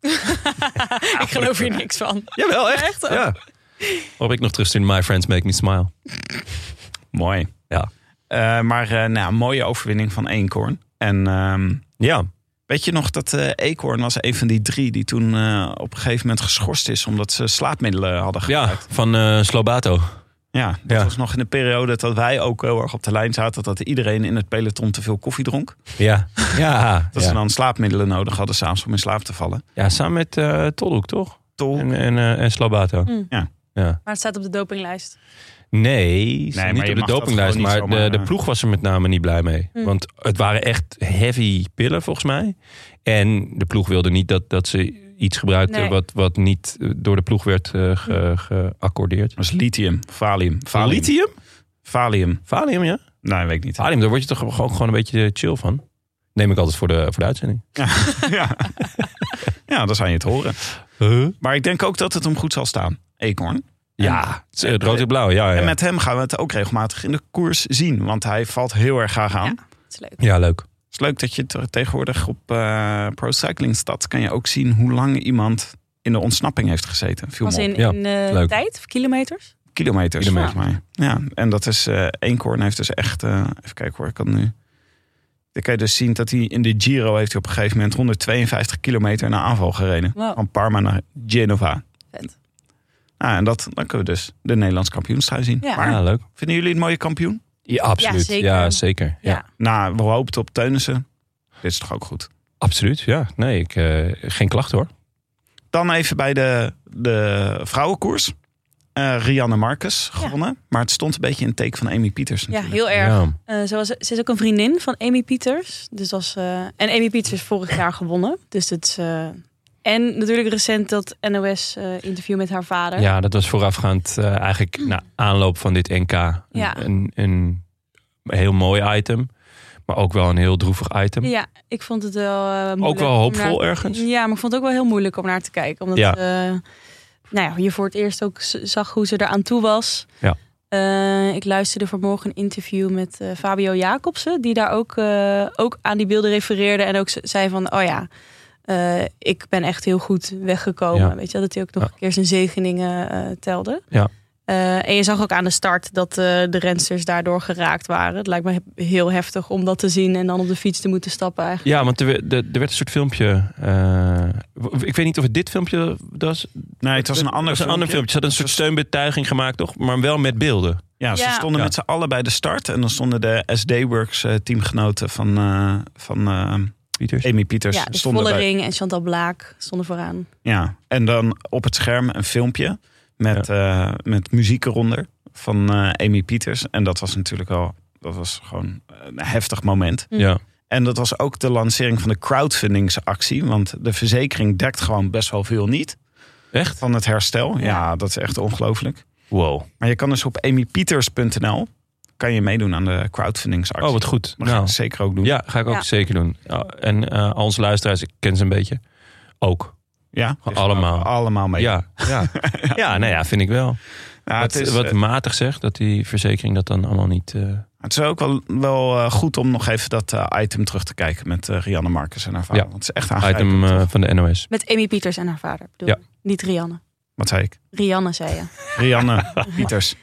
S3: ik geloof hier niks van.
S2: Jawel, echt.
S3: Echt? oh.
S2: Ja. Waarop ik nog terugstuur, my friends make me smile.
S1: Mooi.
S2: Ja.
S1: Eh, maar eh, nou, mooie overwinning van Eenkhoorn. En ehm,
S2: Ja.
S1: weet je nog dat eh Eekhoorn was een van die drie die toen eh, op een gegeven moment geschorst is omdat ze slaapmiddelen hadden
S2: Ja,
S1: gebruikt.
S2: van eh Slobato.
S1: Ja, dat
S2: Ja.
S1: was nog in de periode dat wij ook heel erg op de lijn zaten dat iedereen in het peloton te veel koffie dronk.
S2: Ja. Ja.
S1: Dat
S2: ja.
S1: ze dan slaapmiddelen nodig hadden s'avonds om in slaap te vallen.
S2: Ja, samen met eh Tolhoek, toch?
S1: Tol,
S2: En, en, eh, en Slobato.
S3: Mm.
S1: Ja.
S2: ja.
S3: Maar het staat op de dopinglijst.
S2: Nee, ze
S1: maar
S2: niet
S1: je
S2: op de
S1: mag dat
S2: dopinglijst.
S1: gewoon niet
S2: Maar
S1: zomaar,
S2: de, de
S1: eh.
S2: ploeg was er met name niet blij mee.
S3: Hm.
S2: Want het waren echt heavy pillen volgens mij. En de ploeg wilde niet dat, dat ze iets gebruikten
S3: Nee. Hm.
S2: wat, wat niet eh, door de ploeg werd eh, ge- geaccordeerd.
S1: Dat is lithium, valium. valium.
S2: Lithium?
S1: Valium.
S2: Valium, ja.
S1: Nee, weet ik niet.
S2: Valium, daar word je toch gewoon, gewoon een beetje chill van. Neem ik altijd voor de, voor de uitzending.
S1: ja. ja, dat zou je het horen. Maar ik denk ook dat het hem goed zal staan, Eekhoorn.
S2: Ja, het, is, eh, het rood en blauw. Ja, Oh, ja,
S1: En
S2: ja.
S1: met hem gaan we het ook regelmatig in de koers zien. Want hij valt heel erg graag aan.
S3: Ja. Dat is leuk.
S2: ja leuk.
S1: Het is leuk dat je te- tegenwoordig op eh Pro Cycling Stad... kan je ook zien hoe lang iemand in de ontsnapping heeft gezeten. Viel
S3: Was
S1: me op.
S3: in,
S2: Ja,
S3: in eh,
S2: leuk.
S3: tijd of kilometers?
S1: Kilometers,
S2: Kilometers.
S1: volgens mij. Ja, en dat is... eh Eekhoorn heeft dus echt... eh, even kijken hoor, ik kan nu... Dan kan je dus zien dat hij in de Giro heeft hij op een gegeven moment 152 kilometer naar aanval gereden.
S3: Wow.
S1: Van Parma naar Genova.
S3: Vet.
S1: Ah, en dat, dan kunnen we dus de Nederlands kampioenstrui zien.
S3: Ja.
S1: Maar
S2: Ja, leuk.
S1: vinden jullie het mooie kampioen?
S2: Ja, absoluut. Ja, zeker.
S3: zeker.
S2: Ja,
S3: Ja.
S1: Nou, we hoopten op Teunissen. Dit is toch ook goed.
S2: Absoluut, ja. Nee, ik, eh, geen klacht hoor.
S3: Oh,
S1: Dan even bij de, de vrouwenkoers. Eh, Rianne Marcus gewonnen. Maar het stond een beetje in het teken van Amy Pieters
S3: Ja,
S1: natuurlijk.
S3: heel erg.
S2: Ja.
S3: Eh, ze, was, ze is ook een vriendin van Amy Pieters. Dus was, eh, en Amy Pieters is vorig jaar gewonnen. Dus het is, eh, en natuurlijk recent dat NOS-interview eh, met haar vader.
S2: Ja, dat was voorafgaand eh, eigenlijk na aanloop van dit NK. Een-
S3: Ja.
S2: Een, een, heel mooi item, maar ook wel een heel droevig item.
S3: Ja, ik vond het wel eh, moeilijk.
S2: ook wel
S3: om
S2: hoopvol
S3: naar-
S2: ergens.
S3: Ja, maar ik vond het ook wel heel moeilijk om naar te kijken. Omdat
S2: Ja.
S3: eh, nou ja, je voor het eerst ook z- zag hoe ze eraan toe was.
S2: Ja.
S3: Eh, ik luisterde vanmorgen een interview met eh, Fabio Jacobsen. Die daar ook, eh, ook aan die beelden refereerde. En ook ze- zei van, oh ja, eh, ik ben echt heel goed weggekomen.
S2: Ja.
S3: Weet je, wel, dat hij ook nog
S2: Ja.
S3: een keer zijn zegeningen eh, telde.
S2: Ja.
S3: Eh, en je zag ook aan de start dat eh, de rensters daardoor geraakt waren. Het lijkt me he- heel heftig om dat te zien en dan op de fiets te moeten stappen eigenlijk.
S2: Ja, want er, we- de- er werd een soort filmpje. eh, w- ik weet niet of het dit filmpje was.
S1: Nee, het was een ander
S2: Het was een ander filmpje. Ze hadden een soort steunbetuiging gemaakt, toch? Maar wel met beelden.
S1: Ja, ze
S3: Ja.
S1: stonden
S2: Ja.
S1: met z'n allen bij de start. En dan stonden de SD-Works eh, teamgenoten van, eh, van eh,
S2: Pieters.
S1: Amy Pieters.
S3: ja, de
S1: stonden bij,
S3: Vollering en Chantal Blaak stonden vooraan.
S1: Ja, en dan op het scherm een filmpje met, eh, met muziek eronder van eh, Amy Pieters. En dat was natuurlijk al, dat was gewoon een heftig moment.
S3: Hm.
S2: Ja.
S1: En dat was ook de lancering van de crowdfundingsactie. Want de verzekering dekt gewoon best wel veel niet
S2: Echt?
S1: van het herstel. Ja,
S3: Ja.
S1: dat is echt ongelooflijk.
S2: Wow.
S1: Maar je kan dus op amypieters.nl kan je meedoen aan de crowdfundingsactie.
S2: Oh, wat goed.
S1: Dat ga ik
S2: Nou,
S1: zeker ook doen.
S2: ja, ga ik ook
S3: Ja.
S2: zeker doen. Ja, en eh al onze luisteraars, ik ken ze een beetje. Ook.
S1: Ja, dus
S2: Allemaal.
S1: Allemaal mee.
S2: Ja, ja. ja, nou ja, vind ik wel.
S1: Ja, eh,
S2: wat, wat matig zegt, dat die verzekering dat dan allemaal niet... eh,
S1: Het is ook wel, wel eh, goed om nog even dat eh, item terug te kijken met eh, Rianne Marcus en haar vader.
S2: Ja.
S1: Want het is echt
S2: item
S1: aangrijpend.
S2: eh,
S1: toch?
S2: van de NOS.
S3: Met Amy Pieters en haar vader. Bedoel.
S2: Ja.
S3: Niet Rianne.
S1: Wat zei ik?
S3: Rianne zei je.
S1: Rianne Pieters.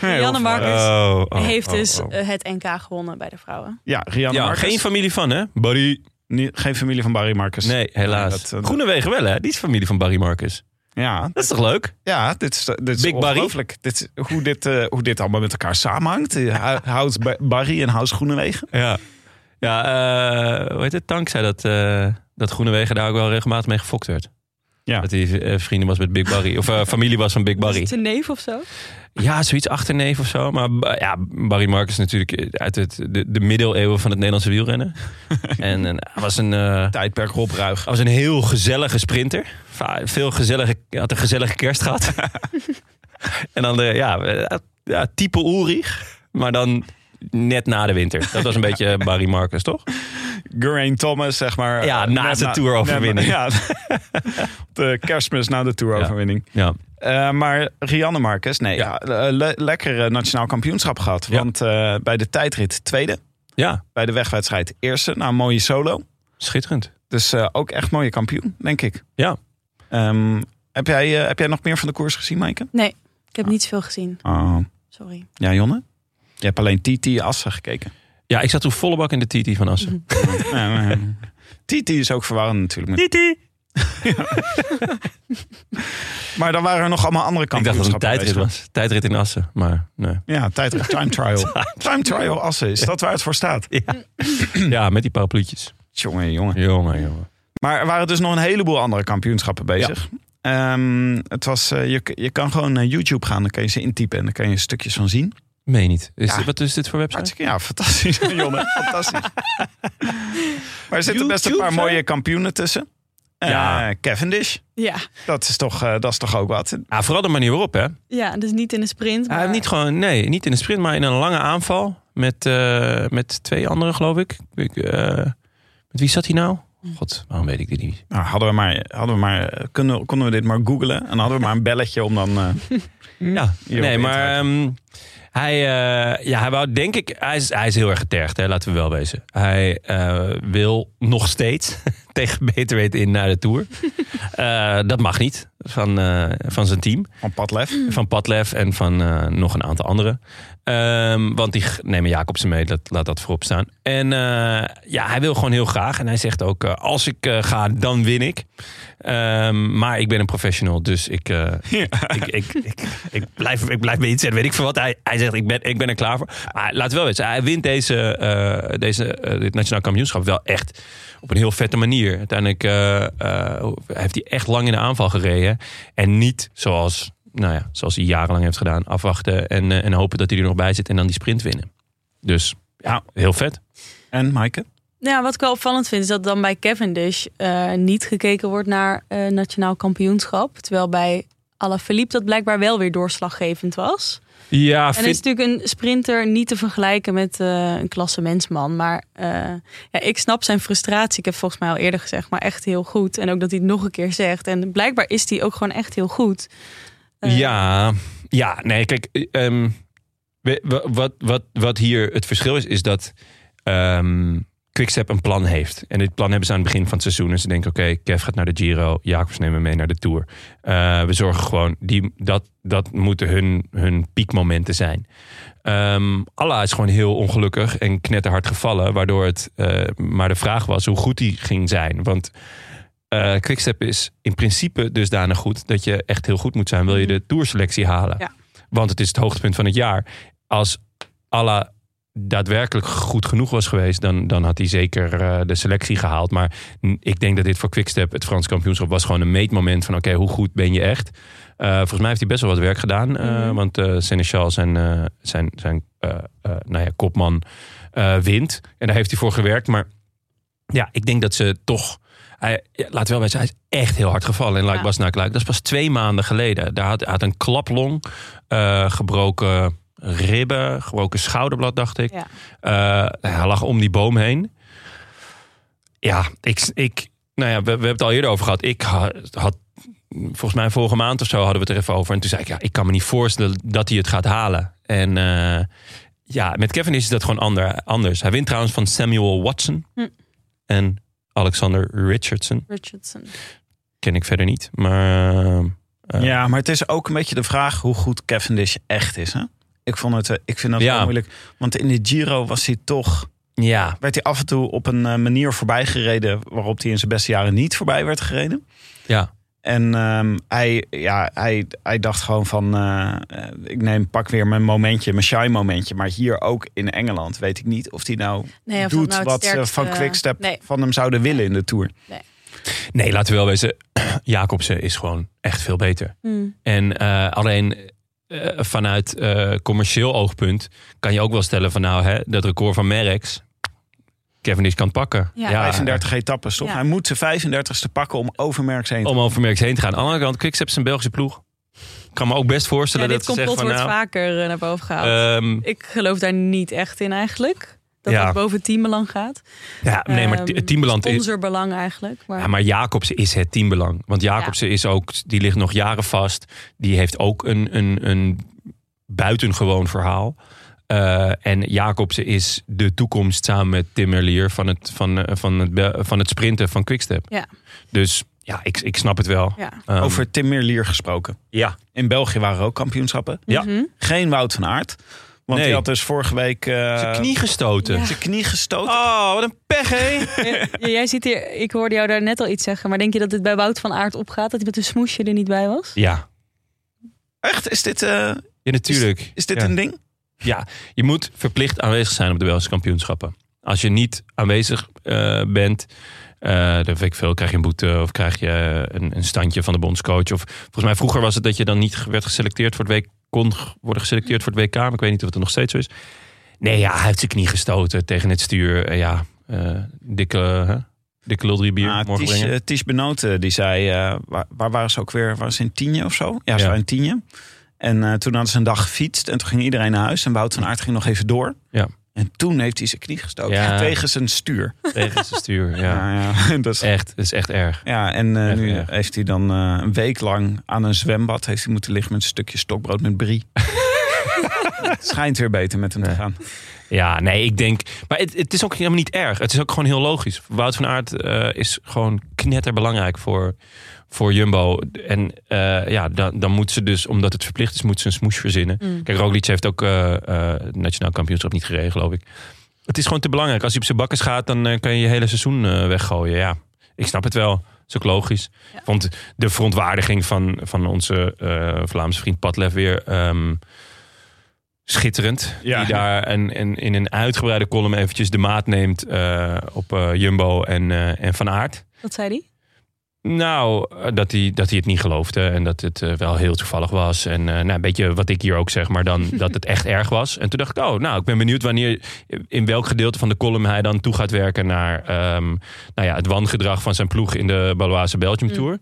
S3: Rianne Marcus
S2: Oh, oh,
S3: heeft
S2: oh,
S3: dus
S2: oh.
S3: eh, het NK gewonnen bij de vrouwen.
S1: Ja, Rianne
S2: ja,
S1: Marcus.
S2: geen familie van, hè? Barry.
S1: Nie- geen familie van Barry Marcus.
S2: Nee, helaas.
S1: Nee, dat, eh,
S2: Groenewegen wel, hè? Die is familie van Barry Marcus.
S1: Ja,
S2: Dat is toch leuk?
S1: ja dit is, dit is
S2: Big Barry?
S1: ongelooflijk. Dit, is- hoe, dit, eh, hoe dit allemaal met elkaar samenhangt. Eh, Houdt Ba- Barry en House Groenewegen.
S2: Ja. Ja, eh, hoe heet het? Tank zei dat, eh dat Groenewegen daar ook wel regelmatig mee gefokt werd.
S1: Ja.
S2: Dat hij eh, vrienden was met Big Barry. Of eh, familie was van Big
S3: Is
S2: Barry.
S3: het een neef of zo?
S2: Ja, zoiets achterneef of zo. Maar ba- ja, Barry Marcus natuurlijk eh, uit het, de, de middeleeuwen van het Nederlandse wielrennen. en, en hij was een... eh,
S1: Tijdperk Rob Ruig.
S2: Hij was een heel gezellige sprinter. Va- Veel gezellige, hij had een gezellige kerst gehad. en dan de, ja, eh, ja, type Ulrich, maar dan net na de winter. Dat was een beetje eh, Barry Marcus, toch?
S1: Geraint Thomas, zeg maar.
S2: Ja,
S1: eh,
S2: na
S1: net
S2: zijn toeroverwinning.
S1: Ja, de kerstmis na de toeroverwinning.
S2: Ja.
S1: Eh, maar Rianne Marcus, nee, ja.
S2: Ja.
S1: eh, le- lekker eh, nationaal kampioenschap gehad.
S2: Ja.
S1: Want eh, bij de tijdrit tweede,
S2: Ja,
S1: bij de wegwedstrijd eerste. Nou, mooie solo.
S2: schitterend.
S1: Dus eh, ook echt mooie kampioen, denk ik.
S2: Ja.
S1: Ehm, heb, jij, eh, heb jij nog meer van de koers gezien, Maaike?
S3: Nee, ik heb niet veel gezien.
S1: Oh.
S3: Sorry.
S1: Ja, Jonne? Je hebt alleen Titi Assen gekeken.
S2: Ja, ik zat toen volle bak in de TT van Assen.
S1: Ja, maar, eh, Titi is ook verwarrend natuurlijk. Met... Titi! maar dan waren er nog allemaal andere
S2: Ik dacht dat het een
S1: kampioenschappen
S2: tijdrit
S1: bezig.
S2: was. Tijdrit in Assen, maar nee.
S1: Ja, tijdrit. Time trial. Time trial Assen, is dat waar het voor staat?
S2: Ja, met die parapluutjes.
S1: Jongen, jongen.
S2: Jongen, jongen.
S1: Maar er waren dus nog een heleboel andere kampioenschappen bezig. Ehm, het was, eh, je, je kan gewoon naar YouTube gaan, dan kan je ze intypen en dan kan je stukjes van zien.
S2: Meen niet. Is
S1: Ja.
S2: dit- wat is dit voor website?
S1: Hartstikke, ja, fantastisch, Jonne. Fantastisch. maar er zitten best een paar
S2: YouTube,
S1: mooie kampioenen tussen. Eh,
S2: Ja.
S1: Cavendish,
S3: Ja,
S1: dat is, toch, eh, dat is toch ook wat.
S2: Ah, vooral de manier waarop, hè?
S3: ja dus niet in een sprint.
S2: Hij heeft niet gewoon, nee, niet in een sprint, maar in een lange aanval. Met, eh, met twee anderen, geloof ik. ik eh, met wie zat hij nou? God, waarom weet ik dit niet?
S1: Nou, hadden we maar, hadden we maar eh, kunnen, konden we dit maar googlen en hadden we maar een belletje om dan... eh,
S2: Ja,
S1: Hier op
S2: nee,
S1: de
S2: maar ehm, hij, eh, ja, hij wou denk ik, hij is, hij is heel erg getergd, hè, laten we wel wezen. Hij eh, wil nog steeds tegen beter weten in naar de Tour. Eh, dat mag niet van, eh, van zijn team,
S1: van Padlef.
S2: van Padlef en van eh, nog een aantal anderen. Ehm, want die g- nemen Jacobsen mee, dat, laat dat voorop staan. En eh, ja, hij wil gewoon heel graag. En hij zegt ook, eh, als ik eh, ga, dan win ik. Ehm, maar ik ben een professional, dus ik, eh, ik, ik, ik, ik blijf, ik blijf me inzetten, weet ik veel wat. Hij, hij zegt, ik ben, ik ben er klaar voor. Maar laten we wel weten, hij wint deze, eh, deze, eh, dit nationaal kampioenschap wel echt op een heel vette manier. Uiteindelijk eh, eh, heeft hij echt lang in de aanval gereden. En niet zoals, nou ja, zoals hij jarenlang heeft gedaan, afwachten en, eh, en hopen dat hij er nog bij zit en dan die sprint winnen. Dus ja, heel vet.
S1: En Maaike?
S3: Nou ja, wat ik wel opvallend vind is dat dan bij Cavendish eh, niet gekeken wordt naar eh, nationaal kampioenschap. Terwijl bij Alaphilippe dat blijkbaar wel weer doorslaggevend was.
S2: Ja,
S3: En het is natuurlijk een sprinter niet te vergelijken met eh, een klassementsman. Maar eh, ja, ik snap zijn frustratie. Ik heb volgens mij al eerder gezegd, maar echt heel goed. En ook dat hij het nog een keer zegt. En blijkbaar is hij ook gewoon echt heel goed. Eh,
S2: Ja, ja, nee, kijk, eh, ehm, we- wa- wat, wat, wat hier het verschil is, is dat ehm Quickstep een plan heeft. En dit plan hebben ze aan het begin van het seizoen. En ze denken, oké, Kev gaat naar de Giro, Jacobs nemen mee naar de Tour. Eh, we zorgen gewoon, die, dat, dat moeten hun, hun piekmomenten zijn. Ehm Allah is gewoon heel ongelukkig en knetterhard gevallen. Waardoor het eh, maar de vraag was hoe goed die ging zijn. Want eh Quickstep is in principe dusdanig goed... dat je echt heel goed moet zijn. Wil je de tourselectie halen.
S3: Ja.
S2: Want het is het hoogtepunt van het jaar. Als Allah daadwerkelijk goed genoeg was geweest... dan, dan had hij zeker eh, de selectie gehaald. Maar n- ik denk dat dit voor Quickstep, het Frans kampioenschap... was gewoon een meetmoment van oké, hoe goed ben je echt? Eh, volgens mij heeft hij best wel wat werk gedaan. eh,
S3: Mhm.
S2: Want eh Seneschal, zijn, eh, zijn, zijn eh, eh, nou ja, kopman, eh, wint. En daar heeft hij voor gewerkt. Maar ja, ik denk dat ze toch... Hij, ja, laat wel bij zijn, hij is echt heel hard gevallen. En like
S3: Ja.
S2: was naar like. Dat is pas twee maanden geleden. Daar had, hij had een klaplong, eh, gebroken ribben, gebroken schouderblad, dacht ik.
S3: Ja.
S2: Eh, hij lag om die boom heen. Ja, ik, ik, nou ja we, we hebben het al eerder over gehad. Ik ha- had, volgens mij vorige maand of zo hadden we het er even over. En toen zei ik, ja, ik kan me niet voorstellen dat hij het gaat halen. En eh, ja, met Kevin is dat gewoon ander, anders. Hij wint trouwens van Samuel Watson
S3: Hm.
S2: en Alexander Richardson.
S3: Richardson.
S2: Ken ik verder niet, maar... eh, eh,
S1: Ja, maar het is ook een beetje de vraag hoe goed Cavendish echt is. Hè? Ik, vond het, eh, ik vind dat
S2: Ja.
S1: heel moeilijk. Want in de Giro was hij toch,
S2: ja.
S1: werd hij af en toe op een eh, manier voorbij gereden... waarop hij in zijn beste jaren niet voorbij werd gereden.
S2: Ja.
S1: En ehm, hij, ja, hij, hij dacht gewoon van, eh, eh, ik neem pak weer mijn momentje, mijn shy momentje. Maar hier ook in Engeland weet ik niet of hij nou
S3: Nee, of dat
S1: doet
S3: nou het
S1: wat
S2: eh,
S1: ze
S3: sterkste-
S1: van Quickstep
S3: Nee.
S1: van hem zouden willen in de Tour.
S2: Nee, laten we wel wezen. Jacobsen is gewoon echt veel beter.
S3: Hmm.
S2: En eh, alleen eh, vanuit eh, commercieel oogpunt kan je ook wel stellen van nou, hè, dat record van Merckx, Kevin is kan het pakken.
S3: Ja.
S1: 35 etappes, toch?
S3: Ja.
S1: Hij moet zijn 35ste pakken om over Merckx heen te
S2: Om over Merckx heen te gaan. Aan de andere kant, Quickstep is een Belgische ploeg. Ik kan me ook best
S3: Ja,
S2: voorstellen
S3: dit
S2: dat ze zeggen
S3: complot
S2: van
S3: wordt
S2: nou...
S3: vaker eh, naar boven gehaald.
S2: ehm,
S3: Ik geloof daar niet echt in eigenlijk. Dat
S2: Ja.
S3: het boven teambelang gaat.
S2: ja, nee, maar het
S3: Ehm,
S2: het teambeland is...
S3: Sponsorbelang eigenlijk. Maar,
S2: Ja, maar Jacobsen is het teambelang. Want Jacobsen is ook, die ligt nog jaren vast. Die heeft ook een, een, een buitengewoon verhaal. Eh, en Jacobsen is de toekomst samen met Tim Merlier van het, van, eh, van het, be- van het sprinten van Quickstep.
S3: Ja.
S2: Dus ja, ik, ik snap het wel.
S3: ja.
S2: Ehm,
S1: Over Tim Merlier gesproken.
S2: Ja.
S1: In België waren er ook kampioenschappen. Mm-hmm.
S2: Ja.
S3: Mhm.
S1: Geen Wout van Aert. Want
S2: Nee.
S1: die had dus vorige week eh,
S2: zijn knie gestoten.
S3: Ja.
S1: zijn knie gestoten.
S2: Oh, wat een pech, hé.
S3: Ja, jij ziet hier, ik hoorde jou daar net al iets zeggen, maar denk je dat dit bij Wout van Aert opgaat? Dat hij met een smoesje er niet bij was?
S2: ja.
S1: Echt? Is dit, eh,
S2: ja, natuurlijk.
S1: is dit
S2: Ja.
S1: een ding?
S2: Ja, je moet verplicht aanwezig zijn op de Belgische kampioenschappen. Als je niet aanwezig eh, bent, Eh dat weet ik veel. Krijg je een boete of krijg je een, een standje van de bondscoach. Of volgens mij vroeger was het dat je dan niet werd geselecteerd voor het WK. Kon g- worden geselecteerd voor het WK. Maar ik weet niet of het nog steeds zo is. Nee, ja, hij heeft zijn knie gestoten tegen het stuur. Eh, ja, eh, dikke, hè? dikke lul drie bier.
S1: Ah,
S2: morgen
S1: Ties,
S2: brengen.
S1: eh, Ties Benoten, die zei, eh, waar, waar waren ze ook weer? Waren ze in Tienje of zo? Ja, ze
S2: Ja.
S1: waren in Tienje. En eh, toen hadden ze een dag gefietst en toen ging iedereen naar huis. En Wout van Aert ging nog even door.
S2: Ja.
S1: En toen heeft hij zijn knie gestoken
S2: Ja.
S1: tegen zijn stuur.
S2: Tegen zijn stuur, ja.
S1: Ja, ja, dat is-
S2: Echt, dat is echt erg.
S1: ja en eh,
S2: Echt
S1: nu
S2: erg.
S1: heeft hij dan eh, een week lang aan een zwembad heeft hij moeten liggen met een stukje stokbrood met brie. Het schijnt weer beter met hem te
S2: Nee.
S1: gaan.
S2: Ja, nee, ik denk. Maar het, het is ook helemaal niet erg. Het is ook gewoon heel logisch. Wout van Aert eh, is gewoon knetterbelangrijk voor, voor Jumbo. En eh, ja, dan, dan moet ze dus, omdat het verplicht is, moet ze een smoes verzinnen.
S3: Mm.
S2: Kijk, Roglic heeft ook eh, eh, het nationaal kampioenschap niet gereden, geloof ik. Het is gewoon te belangrijk. Als hij op zijn bakkes gaat, dan eh, kan je je hele seizoen eh, weggooien. Ja, ik snap het wel. is ook logisch.
S3: Ja.
S2: Want de verontwaardiging van, van onze eh, Vlaamse vriend Patlev weer... ehm, schitterend.
S1: Ja.
S2: Die daar en, en in een uitgebreide column eventjes de maat neemt eh, op eh, Jumbo en, eh, en Van Aert.
S3: Wat zei hij?
S2: Nou, eh, dat hij, dat hij het niet geloofde en dat het eh, wel heel toevallig was. En eh, nou, een beetje wat ik hier ook zeg, maar dan dat het echt erg was. En toen dacht ik, oh, nou, ik ben benieuwd wanneer, in welk gedeelte van de column hij dan toe gaat werken naar ehm, nou ja, het wangedrag van zijn ploeg in de Baloise Belgium Tour.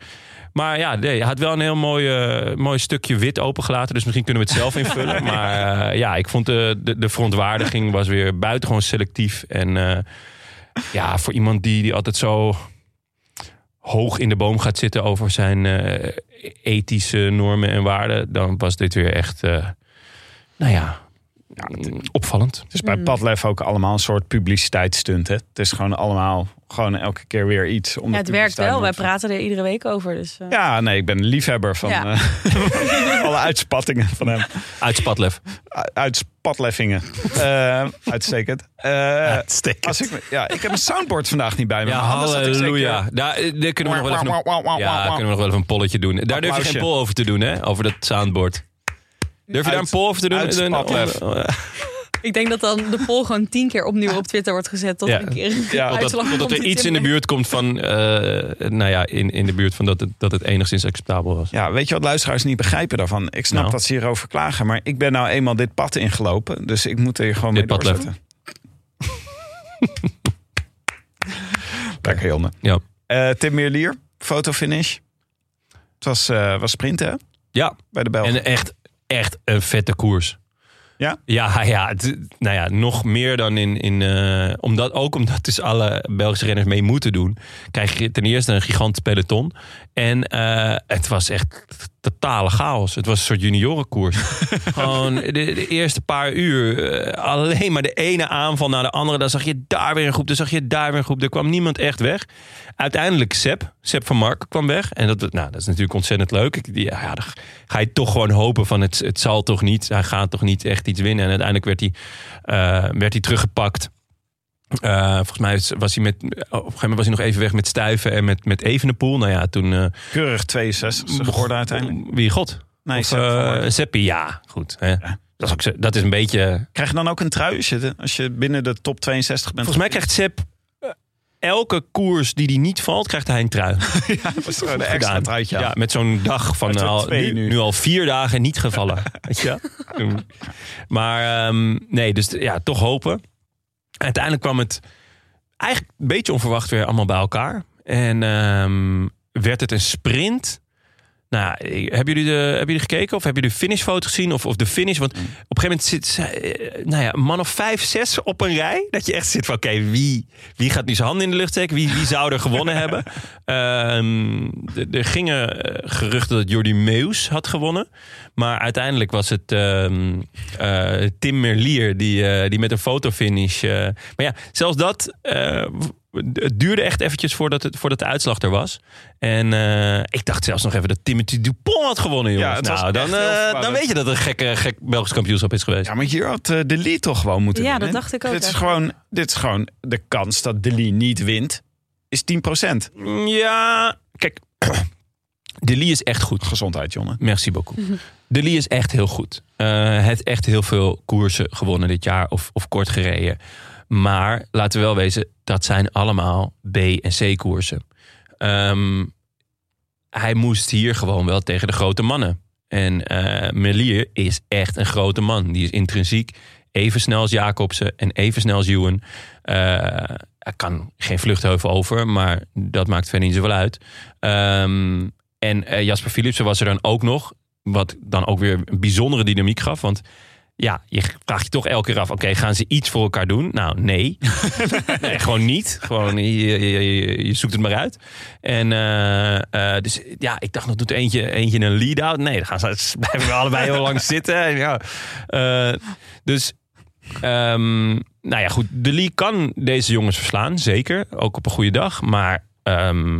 S2: Maar ja, nee, hij had wel een heel mooi, eh, mooi stukje wit opengelaten. Dus misschien kunnen we het zelf invullen. Maar eh, ja, ik vond de, de, de verontwaardiging was weer buitengewoon selectief. En eh, ja, voor iemand die, die altijd zo hoog in de boom gaat zitten over zijn eh, ethische normen en waarden, dan was dit weer echt, eh, nou ja, mm, opvallend.
S1: Dus bij
S3: Mm.
S1: Padlef ook allemaal een soort publiciteitsstunt. Hè? Het is gewoon allemaal, gewoon elke keer weer iets. Om
S3: Ja,
S1: de
S3: het werkt
S1: publiciteit
S3: wel. Wij
S1: op te-
S3: praten er iedere week over. Dus, eh,
S1: Ja, nee, ik ben een liefhebber van
S3: Ja.
S1: eh, alle uitspattingen van hem.
S2: Uit Spatlef.
S1: U- Uitspatleffingen. Eh, uitstekend. Eh, als ik, me- ja, ik heb een soundboard vandaag niet bij me.
S2: Ja,
S1: maar anders had ik zeker-
S2: halleluja. Daar, eh, daar kunnen we nog wel even een,
S1: Wauw, wauw, wauw,
S2: ja,
S1: wauw.
S2: kunnen we nog wel even een polletje doen. Daar durf je
S1: Applausje.
S2: geen poll over te doen, hè? Over dat soundboard. Durf je daar een
S1: Uit-
S2: poll over te doen?
S1: uit Spatlef.
S2: Een- een-
S3: Ik denk dat dan de poll gewoon tien keer opnieuw op Twitter wordt gezet. Tot
S2: Ja.
S3: een keer een
S1: Ja,
S2: Totdat,
S3: uitslag
S2: totdat
S3: komt
S2: er
S3: die
S2: iets in de
S3: Tim-
S2: buurt komt van... eh, nou ja, in, in de buurt van dat het, dat het enigszins acceptabel was.
S1: Ja, weet je wat luisteraars niet begrijpen daarvan? Ik snap
S2: Nou.
S1: dat ze hierover klagen, maar ik ben nou eenmaal dit pad ingelopen. Dus ik moet er gewoon
S2: Dit
S1: mee
S2: pad lef.
S1: doorzetten. Lekker, Jonne.
S2: Ja.
S1: Eh, Tim Meerlier, fotofinish. Het was, eh, was sprinten hè,
S2: Ja,
S1: bij de Belgen.
S2: en echt, echt een vette koers.
S1: Ja?
S2: Ja, ja, het- nou ja, nog meer dan in... in eh, omdat, ook omdat dus alle Belgische renners mee moeten doen... krijg je ten eerste een gigantisch peloton. En eh, het was echt totale chaos. Het was een soort juniorenkoers. Gewoon de, de eerste paar uur eh, alleen maar de ene aanval naar de andere. Dan zag je daar weer een groep, dan zag je daar weer een groep. Er kwam niemand echt weg. Uiteindelijk Sepp, Sepp van Mark kwam weg. En dat, nou, dat is natuurlijk ontzettend leuk. Ik, die- ja, dan ga je toch gewoon hopen van het, het zal toch niet. Hij gaat toch niet echt iets winnen. En uiteindelijk werd hij, eh, werd hij teruggepakt. Eh, volgens mij was hij met, op een gegeven moment was hij nog even weg met Stuiven en met, met Evenepoel. Nou ja, toen... eh,
S1: Keurig 62 is ze geworden uiteindelijk.
S2: Wie God?
S1: Nee,
S2: Of,
S1: Sepp van Mark.
S2: eh, Seppi, ja, goed. Hè. Dat, is ook, zo- dat is een beetje.
S1: Krijg je dan ook een trui als je, als je binnen de top 62 bent?
S2: Volgens mij krijgt Sepp eh, elke koers die hij niet valt, krijgt hij een trui.
S1: dat is gewoon een
S2: Gedaan.
S1: extra truitje. aan.
S2: Ja, met zo'n dag van
S1: Met zo'n
S2: al,
S1: twee
S2: nu,
S1: nu.
S2: nu al vier dagen niet gevallen. Weet je? Toen. Maar ehm, nee, dus ja, toch hopen. Uiteindelijk kwam het eigenlijk een beetje onverwacht weer allemaal bij elkaar. En ehm, werd het een sprint. Nou, eh, hebben jullie, de, hebben jullie gekeken of hebben jullie de finishfoto gezien? Of, of de finish? Want op een gegeven moment zit zij, eh, nou ja, een man of vijf, zes op een rij. Dat je echt zit van, oké, wie, wie gaat nu zijn handen in de lucht steken? Wie, wie zou er gewonnen hebben? Ehm, d- er gingen eh, geruchten dat Jordi Meus had gewonnen. Maar uiteindelijk was het ehm, eh, Tim Merlier die, eh, die met een fotofinish... eh, maar ja, zelfs dat... eh, w- het duurde echt eventjes voordat, het, voordat de uitslag er was. En eh, ik dacht zelfs nog even dat Timothy Dupont had gewonnen,
S1: Ja,
S2: jongens.
S1: het was
S2: nou, dan,
S1: echt heel
S2: eh, dan
S1: spannend.
S2: weet je dat het een gekke, gek Belgisch kampioenschap is geweest.
S1: Ja, maar hier had eh, de Lee toch gewoon moeten
S3: Ja,
S1: winnen.
S3: dat dacht ik ook
S1: Dit is,
S3: eigenlijk.
S1: gewoon, dit is gewoon de kans dat de Lee niet wint, is 10%.
S2: Ja, kijk. De Lee is echt goed.
S1: Gezondheid, jongen.
S2: Merci beaucoup. De Lee is echt heel goed. Eh, hij heeft echt heel veel koersen gewonnen dit jaar of, of kort gereden. Maar laten we wel wezen, dat zijn allemaal B- en C-koersen. Ehm, hij moest hier gewoon wel tegen de grote mannen. En eh Melier is echt een grote man. Die is intrinsiek even snel als Jacobsen en even snel als Ewan. Eh, hij kan geen vluchtheuvel over, maar dat maakt verder niet zoveel uit. Ehm, en eh, Jasper Philipsen was er dan ook nog. Wat dan ook weer een bijzondere dynamiek gaf. Want ja, je vraagt je toch elke keer af: oké, gaan ze iets voor elkaar doen? Nou, nee. nee gewoon niet. Gewoon, je, je, je- je zoekt het maar uit. En eh, eh, dus ja, ik dacht nog: doet eentje, eentje een lead-out? Nee, dan gaan ze, ze blijven we allebei heel lang zitten. En ja. eh, dus. ehm, nou ja, goed. De Lee kan deze jongens verslaan, zeker. Ook op een goede dag. Maar ehm,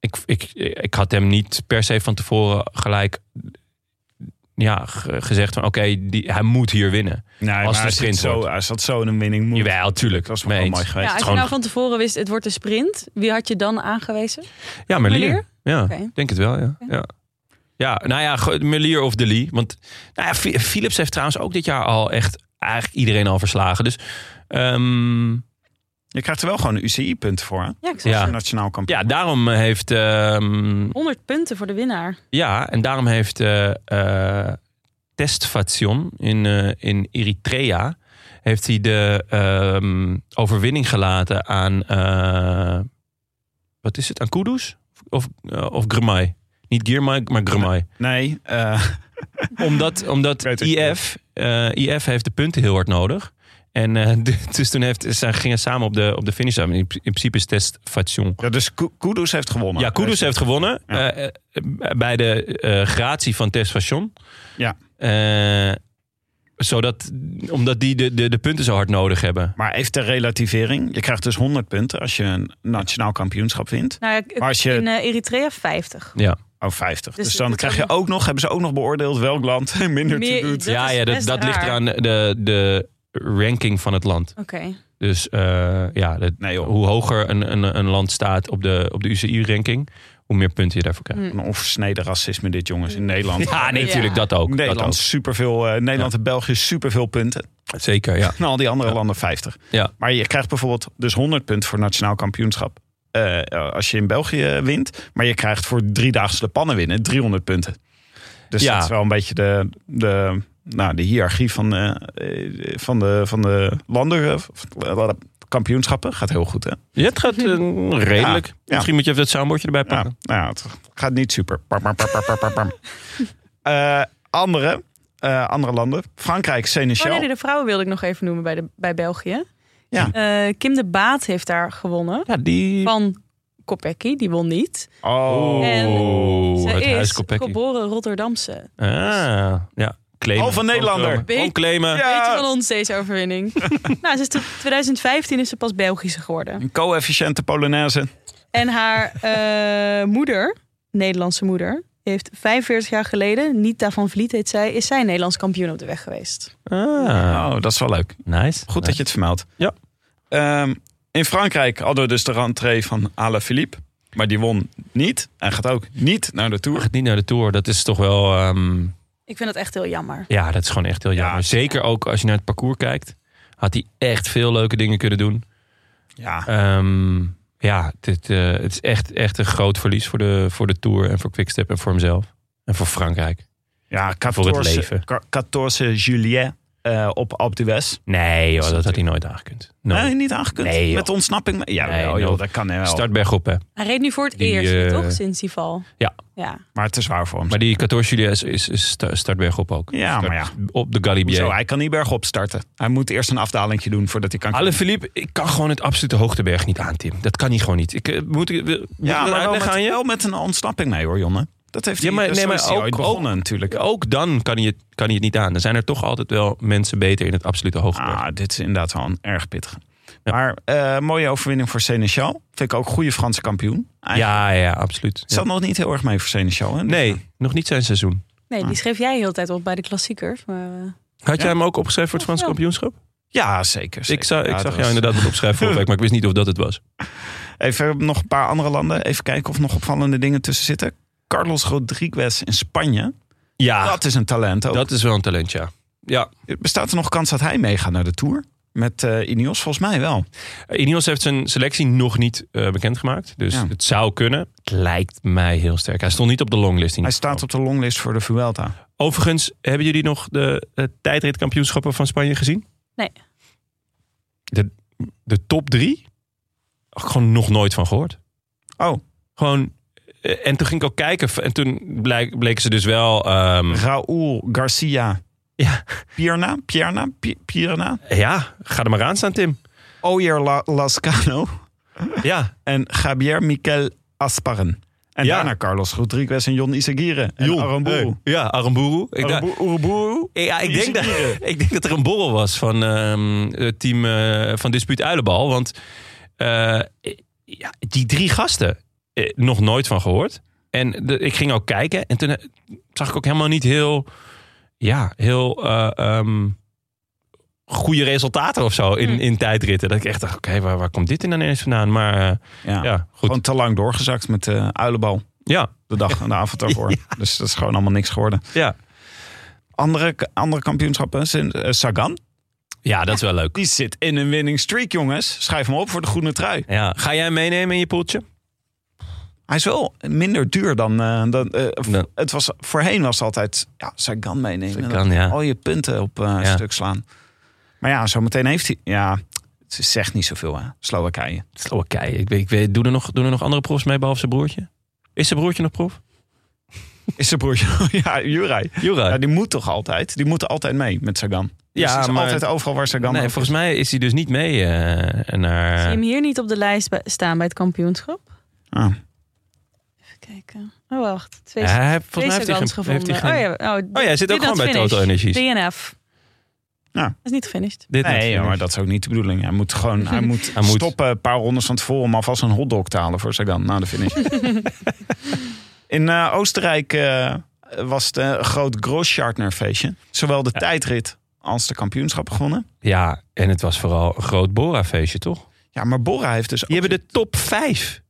S2: ik, ik, ik had hem niet per se van tevoren gelijk ja, ge- gezegd van oké, die- hij moet hier winnen.
S1: Nee, maar
S2: de
S1: hij,
S2: sprint
S1: zit zo,
S2: wordt.
S1: hij zat zo in een winning mood.
S2: Jawel, tuurlijk.
S1: Dat was
S2: Mee
S1: wel
S2: eens.
S1: mooi geweest.
S3: Ja, als je
S2: gewoon-
S3: nou van tevoren wist, het wordt een sprint, wie had je dan aangewezen?
S2: Ja, Merlier.
S3: Merlier?
S2: Ja,
S3: Oké.
S2: denk het wel, ja.
S3: Oké.
S2: ja. Ja, nou ja, ge- Merlier of De Lee. Want nou ja, Fi- Philips heeft trouwens ook dit jaar al echt eigenlijk iedereen al verslagen. Dus ehm,
S3: nou-
S1: Je krijgt er wel gewoon UCI-punten voor, hè?
S3: Ja, ik zeg
S2: Ja.
S1: Als je nationaal kampioen.
S2: ja, daarom heeft ehm,
S3: 100 punten voor de winnaar.
S2: Ja, en daarom heeft eh eh, Tesfation in, eh, in Eritrea heeft hij de ehm, overwinning gelaten aan eh, wat is het? Aan Kudus of, eh, of Grumai? Niet Girmay, maar Grumai.
S1: Nee, eh,
S2: Omdat, omdat
S1: Ik weet het niet.
S2: IF, eh, IF heeft de punten heel hard nodig. En eh, dus toen heeft, ze gingen samen op de, op de finish. samen. In, in principe is Tesfation
S1: ja, dus Ku- Kudus heeft gewonnen.
S2: ja, Kudus
S1: Dus-
S2: heeft gewonnen
S1: Ja.
S2: eh, eh, bij de eh, gratie van Tess Fashion.
S1: Ja.
S2: Eh, zodat, omdat die de, de, de punten zo hard nodig hebben.
S1: Maar even ter relativering. Je krijgt dus 100 punten als je een nationaal kampioenschap wint.
S3: Nou ja, ik-
S1: Maar als je...
S3: in eh, Eritrea 50.
S2: Ja,
S1: Oh, 50. Dus,
S3: Dus
S1: dan
S3: het-
S1: krijg je ook nog... Hebben ze ook nog beoordeeld welk land minder te
S3: Meer-
S1: doet.
S3: Dat
S2: ja,
S3: is
S2: ja dat,
S3: best
S2: dat ligt
S3: raar.
S2: eraan eh, de, de ranking van het land.
S3: Oké.
S2: Dus eh, ja, dat-
S1: Nee, joh.
S2: hoe hoger een, een, een land staat op de, op de UCI-ranking, hoe meer punten je daarvoor krijgt.
S1: Een onversneden racisme dit, jongens, in Nederland.
S2: Ja, nee,
S3: Ja.
S2: natuurlijk, dat ook. Dat
S1: Nederland,
S2: ook.
S1: superveel, eh, Nederland en België superveel punten.
S2: Zeker, ja.
S1: En al die andere landen 50.
S2: Ja.
S1: Maar je krijgt bijvoorbeeld dus 100 punten voor nationaal kampioenschap. eh, als je in België wint. Maar je krijgt voor driedaagse de pannen winnen 300 punten. Dus
S2: Ja.
S1: dat is wel een beetje de, de, nou, de hiërarchie van, eh, eh, van, de, van de landen. eh, of, eh, kampioenschappen. Gaat heel goed hè?
S2: Ja, het gaat eh, redelijk.
S1: Ja.
S2: Misschien moet je even dat soundboardje erbij
S1: Ja,
S2: pakken.
S1: nou, ja, het gaat niet super. Pam, pam, pam, pam, pam, pam, pam. Eh, andere, eh, andere landen. Frankrijk,
S3: Oh
S1: Seneschal.
S3: nee, de vrouwen wilde ik nog even noemen bij, de, bij België.
S1: Ja.
S3: Eh, Kim de Baat heeft daar gewonnen.
S2: Ja, die...
S3: Van Kopecky, die won niet.
S1: Oh.
S3: En
S2: Oh,
S3: Ze
S2: het
S3: is
S2: huis Kopecky.
S3: geboren Rotterdamse.
S2: Ah, ja. Claimen.
S1: Halve Oh, Nederlander.
S2: Omclamen. Omclamen.
S1: Ja.
S3: Beter dan ons deze overwinning. nou, ze is tot 2015 is ze pas Belgische geworden.
S1: Een co-efficiënte Polonaise.
S3: En haar eh, moeder, Nederlandse moeder, heeft 45 jaar geleden, Nita van Vliet heet zij, is zij Nederlands kampioen op de weg geweest.
S2: Ah,
S1: Oh, dat is wel leuk.
S2: nice.
S1: Goed dat je het vermeldt.
S2: Ja.
S1: Ehm, in Frankrijk hadden we dus de rentree van Alain Philippe. Maar die won niet. Hij gaat ook niet naar de
S2: Nice.
S1: Tour.
S2: Gaat niet naar de Tour. Dat is toch wel... ehm,
S3: Ik vind dat echt heel jammer.
S2: ja, dat is gewoon echt heel jammer.
S1: Ja.
S2: Zeker ook als je naar het parcours kijkt. Had hij echt veel leuke dingen kunnen doen.
S1: Ja.
S2: Ehm, ja, dit, eh, het is echt, echt een groot verlies voor de, voor de Tour. En voor Quickstep en voor hemzelf. En voor Frankrijk.
S1: Ja,
S2: Voor het
S1: 14,
S2: leven.
S1: ka- 14 juillet eh, op Alpe d'Huez.
S2: Nee joh, dat had hij nooit aangekund. No.
S1: Nee, nou. niet aangekund.
S2: Nee, joh.
S1: Met de ontsnapping. Ja,
S2: Nee,
S1: wel, joh,
S2: joh.
S1: dat kan hij wel.
S2: Start bergop hè.
S3: Hij reed nu voor het
S2: Die,
S3: eerst,
S2: eh,
S3: toch? Sinds die val.
S2: ja.
S3: ja.
S1: Maar het is waar voor hem.
S2: Maar die 14 juli is, is, is sta- start bergop ook.
S1: Ja, maar ja.
S2: Op de Galibier.
S1: Hoezo? Hij kan niet bergop starten. Hij moet eerst een afdalingje doen voordat hij kan.
S2: Alle Philippe, ik kan gewoon het absolute hoogteberg niet aan, Tim. Dat kan hij gewoon niet. Ik, eh, moet ik, wil- moet ik
S1: ja,
S2: dat
S1: maar wel
S2: uitleggen
S1: met,
S2: aan je?
S1: wel met een ontsnapping mee hoor, Jonne. Dat heeft
S2: Ja,
S1: hij,
S2: maar-
S1: dus
S2: nee,
S1: zo
S2: maar
S1: is hij
S2: ook-
S1: ooit begonnen natuurlijk.
S2: Ook dan kan hij, het, kan hij het niet aan. Er zijn er toch altijd wel mensen beter in het absolute hoogteberg.
S1: Ah, dit is inderdaad wel een erg pittig.
S2: Ja.
S1: Maar eh, mooie overwinning voor Seneschal. Vind ik ook goede Franse kampioen. Eigenlijk
S2: ja, ja, absoluut. Ja.
S1: Zat nog niet heel erg mee voor Seneschal. Hè?
S2: Nee, nog niet zijn seizoen.
S3: Nee, die schreef jij heel de tijd op bij de klassiekers. Maar, eh,
S2: Had
S1: Ja.
S2: jij hem ook opgeschreven voor het Franse
S3: Ja.
S2: kampioenschap?
S1: Ja, zeker. zeker.
S2: Ik, zou, ik
S1: Ja, dat
S2: zag
S1: was-
S2: jou inderdaad wat opschrijven vorige week, maar ik wist niet of dat het was.
S1: Even nog een paar andere landen. Even kijken of nog opvallende dingen tussen zitten. Carlos Rodriguez in Spanje.
S2: Ja,
S1: Dat is een talent ook.
S2: dat is wel een talent, ja. Ja,
S1: Bestaat er nog kans dat hij meegaat naar de Tour? Met eh Ineos volgens mij wel.
S2: Ineos heeft zijn selectie nog niet eh, bekendgemaakt. Dus
S1: Ja.
S2: het zou kunnen. Het lijkt mij heel sterk. Hij stond niet op de longlist. in
S1: Hij
S2: ieder geval.
S1: staat op de longlist voor de Vuelta.
S2: Overigens, hebben jullie nog de, eh, tijdritkampioenschappen van Spanje gezien?
S3: Nee.
S2: De, de top drie? Had ik gewoon nog nooit van gehoord.
S1: Oh.
S2: Gewoon... eh, En toen ging ik ook kijken. En toen blijk- bleken ze dus wel... ehm,
S1: Raúl Garcia
S2: ja,
S1: Pierna. Pierna. Pi- Pierna.
S2: ja, ga er maar aan staan, Tim.
S1: Oyer La- Lascano.
S2: Ja,
S1: En Javier Miquel Asparren. En
S2: Ja.
S1: daarna Carlos Rodriguez en Jon Isagire. En
S2: Jon,
S1: Aramburu.
S2: ja Aramburu. Ik da-
S1: Aramburu- Uruburu.
S2: Ja, ik denk, dat,
S1: Isagire.
S2: ik denk dat er een borrel was van ehm, het team eh, van Dispuut Uilenbal. Want eh, ja, die drie gasten, eh, nog nooit van gehoord. En de- ik ging ook kijken en toen eh, zag ik ook helemaal niet heel, ja, heel eh, ehm, goede resultaten of zo in,
S3: Hmm.
S2: in tijdritten. Dat ik echt dacht, oké, waar, waar komt dit in dan ineens vandaan? Maar eh,
S1: Ja.
S2: ja, goed.
S1: Gewoon te lang doorgezakt met de uilenbal.
S2: ja,
S1: De dag en de avond daarvoor. Dus dat is gewoon allemaal niks geworden.
S2: ja.
S1: Andere, andere kampioenschappen. zijn, eh, Sagan.
S2: ja, dat is wel leuk.
S1: Die zit in een winning streak, jongens. Schrijf hem op voor de groene trui.
S2: Ja. Ga jij hem meenemen in je poeltje?
S1: Hij is wel minder duur dan... eh, dan eh, v-
S2: Nee.
S1: het was, voorheen was het altijd... Ja, Sagan meenemen.
S2: Sagan, ja.
S1: Al je punten op eh, een
S2: Ja.
S1: stuk slaan. Maar ja, zometeen heeft hij... Ja, het zegt niet zoveel, hè. Slowakije.
S2: Slowakije. Ik weet, ik weet, doen, er nog, doen er nog andere profs mee behalve zijn broertje? Is zijn broertje nog prof?
S1: Is zijn broertje... ja, Juraj.
S2: Jura.
S1: Ja, die moet toch altijd? Die moeten altijd mee met Sagan. Dus
S2: Ja,
S1: die is
S2: maar-
S1: altijd overal waar Sagan
S2: nee,
S1: ook
S2: volgens mij is hij dus niet mee eh,
S3: Zie je
S2: naar...
S3: hem hier niet op de lijst bij- staan bij het kampioenschap?
S1: is. Ah.
S3: Even kijken. Oh, wacht. Twee,
S2: Ja, hij heeft,
S3: twee
S2: Eh, volgens mij heeft hij
S3: Sagans
S2: geen- heeft
S3: gevonden.
S2: hij geen...
S3: oh, ja. oh,
S2: Oh ja, hij zit ook
S3: dit
S2: gewoon
S3: not
S2: bij
S3: finished.
S2: Total Energies.
S3: DNF.
S1: Ja.
S3: Dat is niet gefinished.
S2: Dit net
S1: Nee,
S2: finished.
S1: joh, maar dat is ook niet de bedoeling. Hij moet gewoon hij moet
S2: Hij moet-
S1: stoppen een paar rondes van tevoren... om alvast een hotdog te halen voor Sagan na de finish. In eh, Oostenrijk eh, was het een groot Grosschartner feestje. Zowel de tijdrit als de kampioenschap begonnen.
S2: Ja, en het was vooral een groot Bora-feestje, toch?
S1: Ja, maar Bora heeft dus...
S2: Die
S1: ook-
S2: hebben de top 5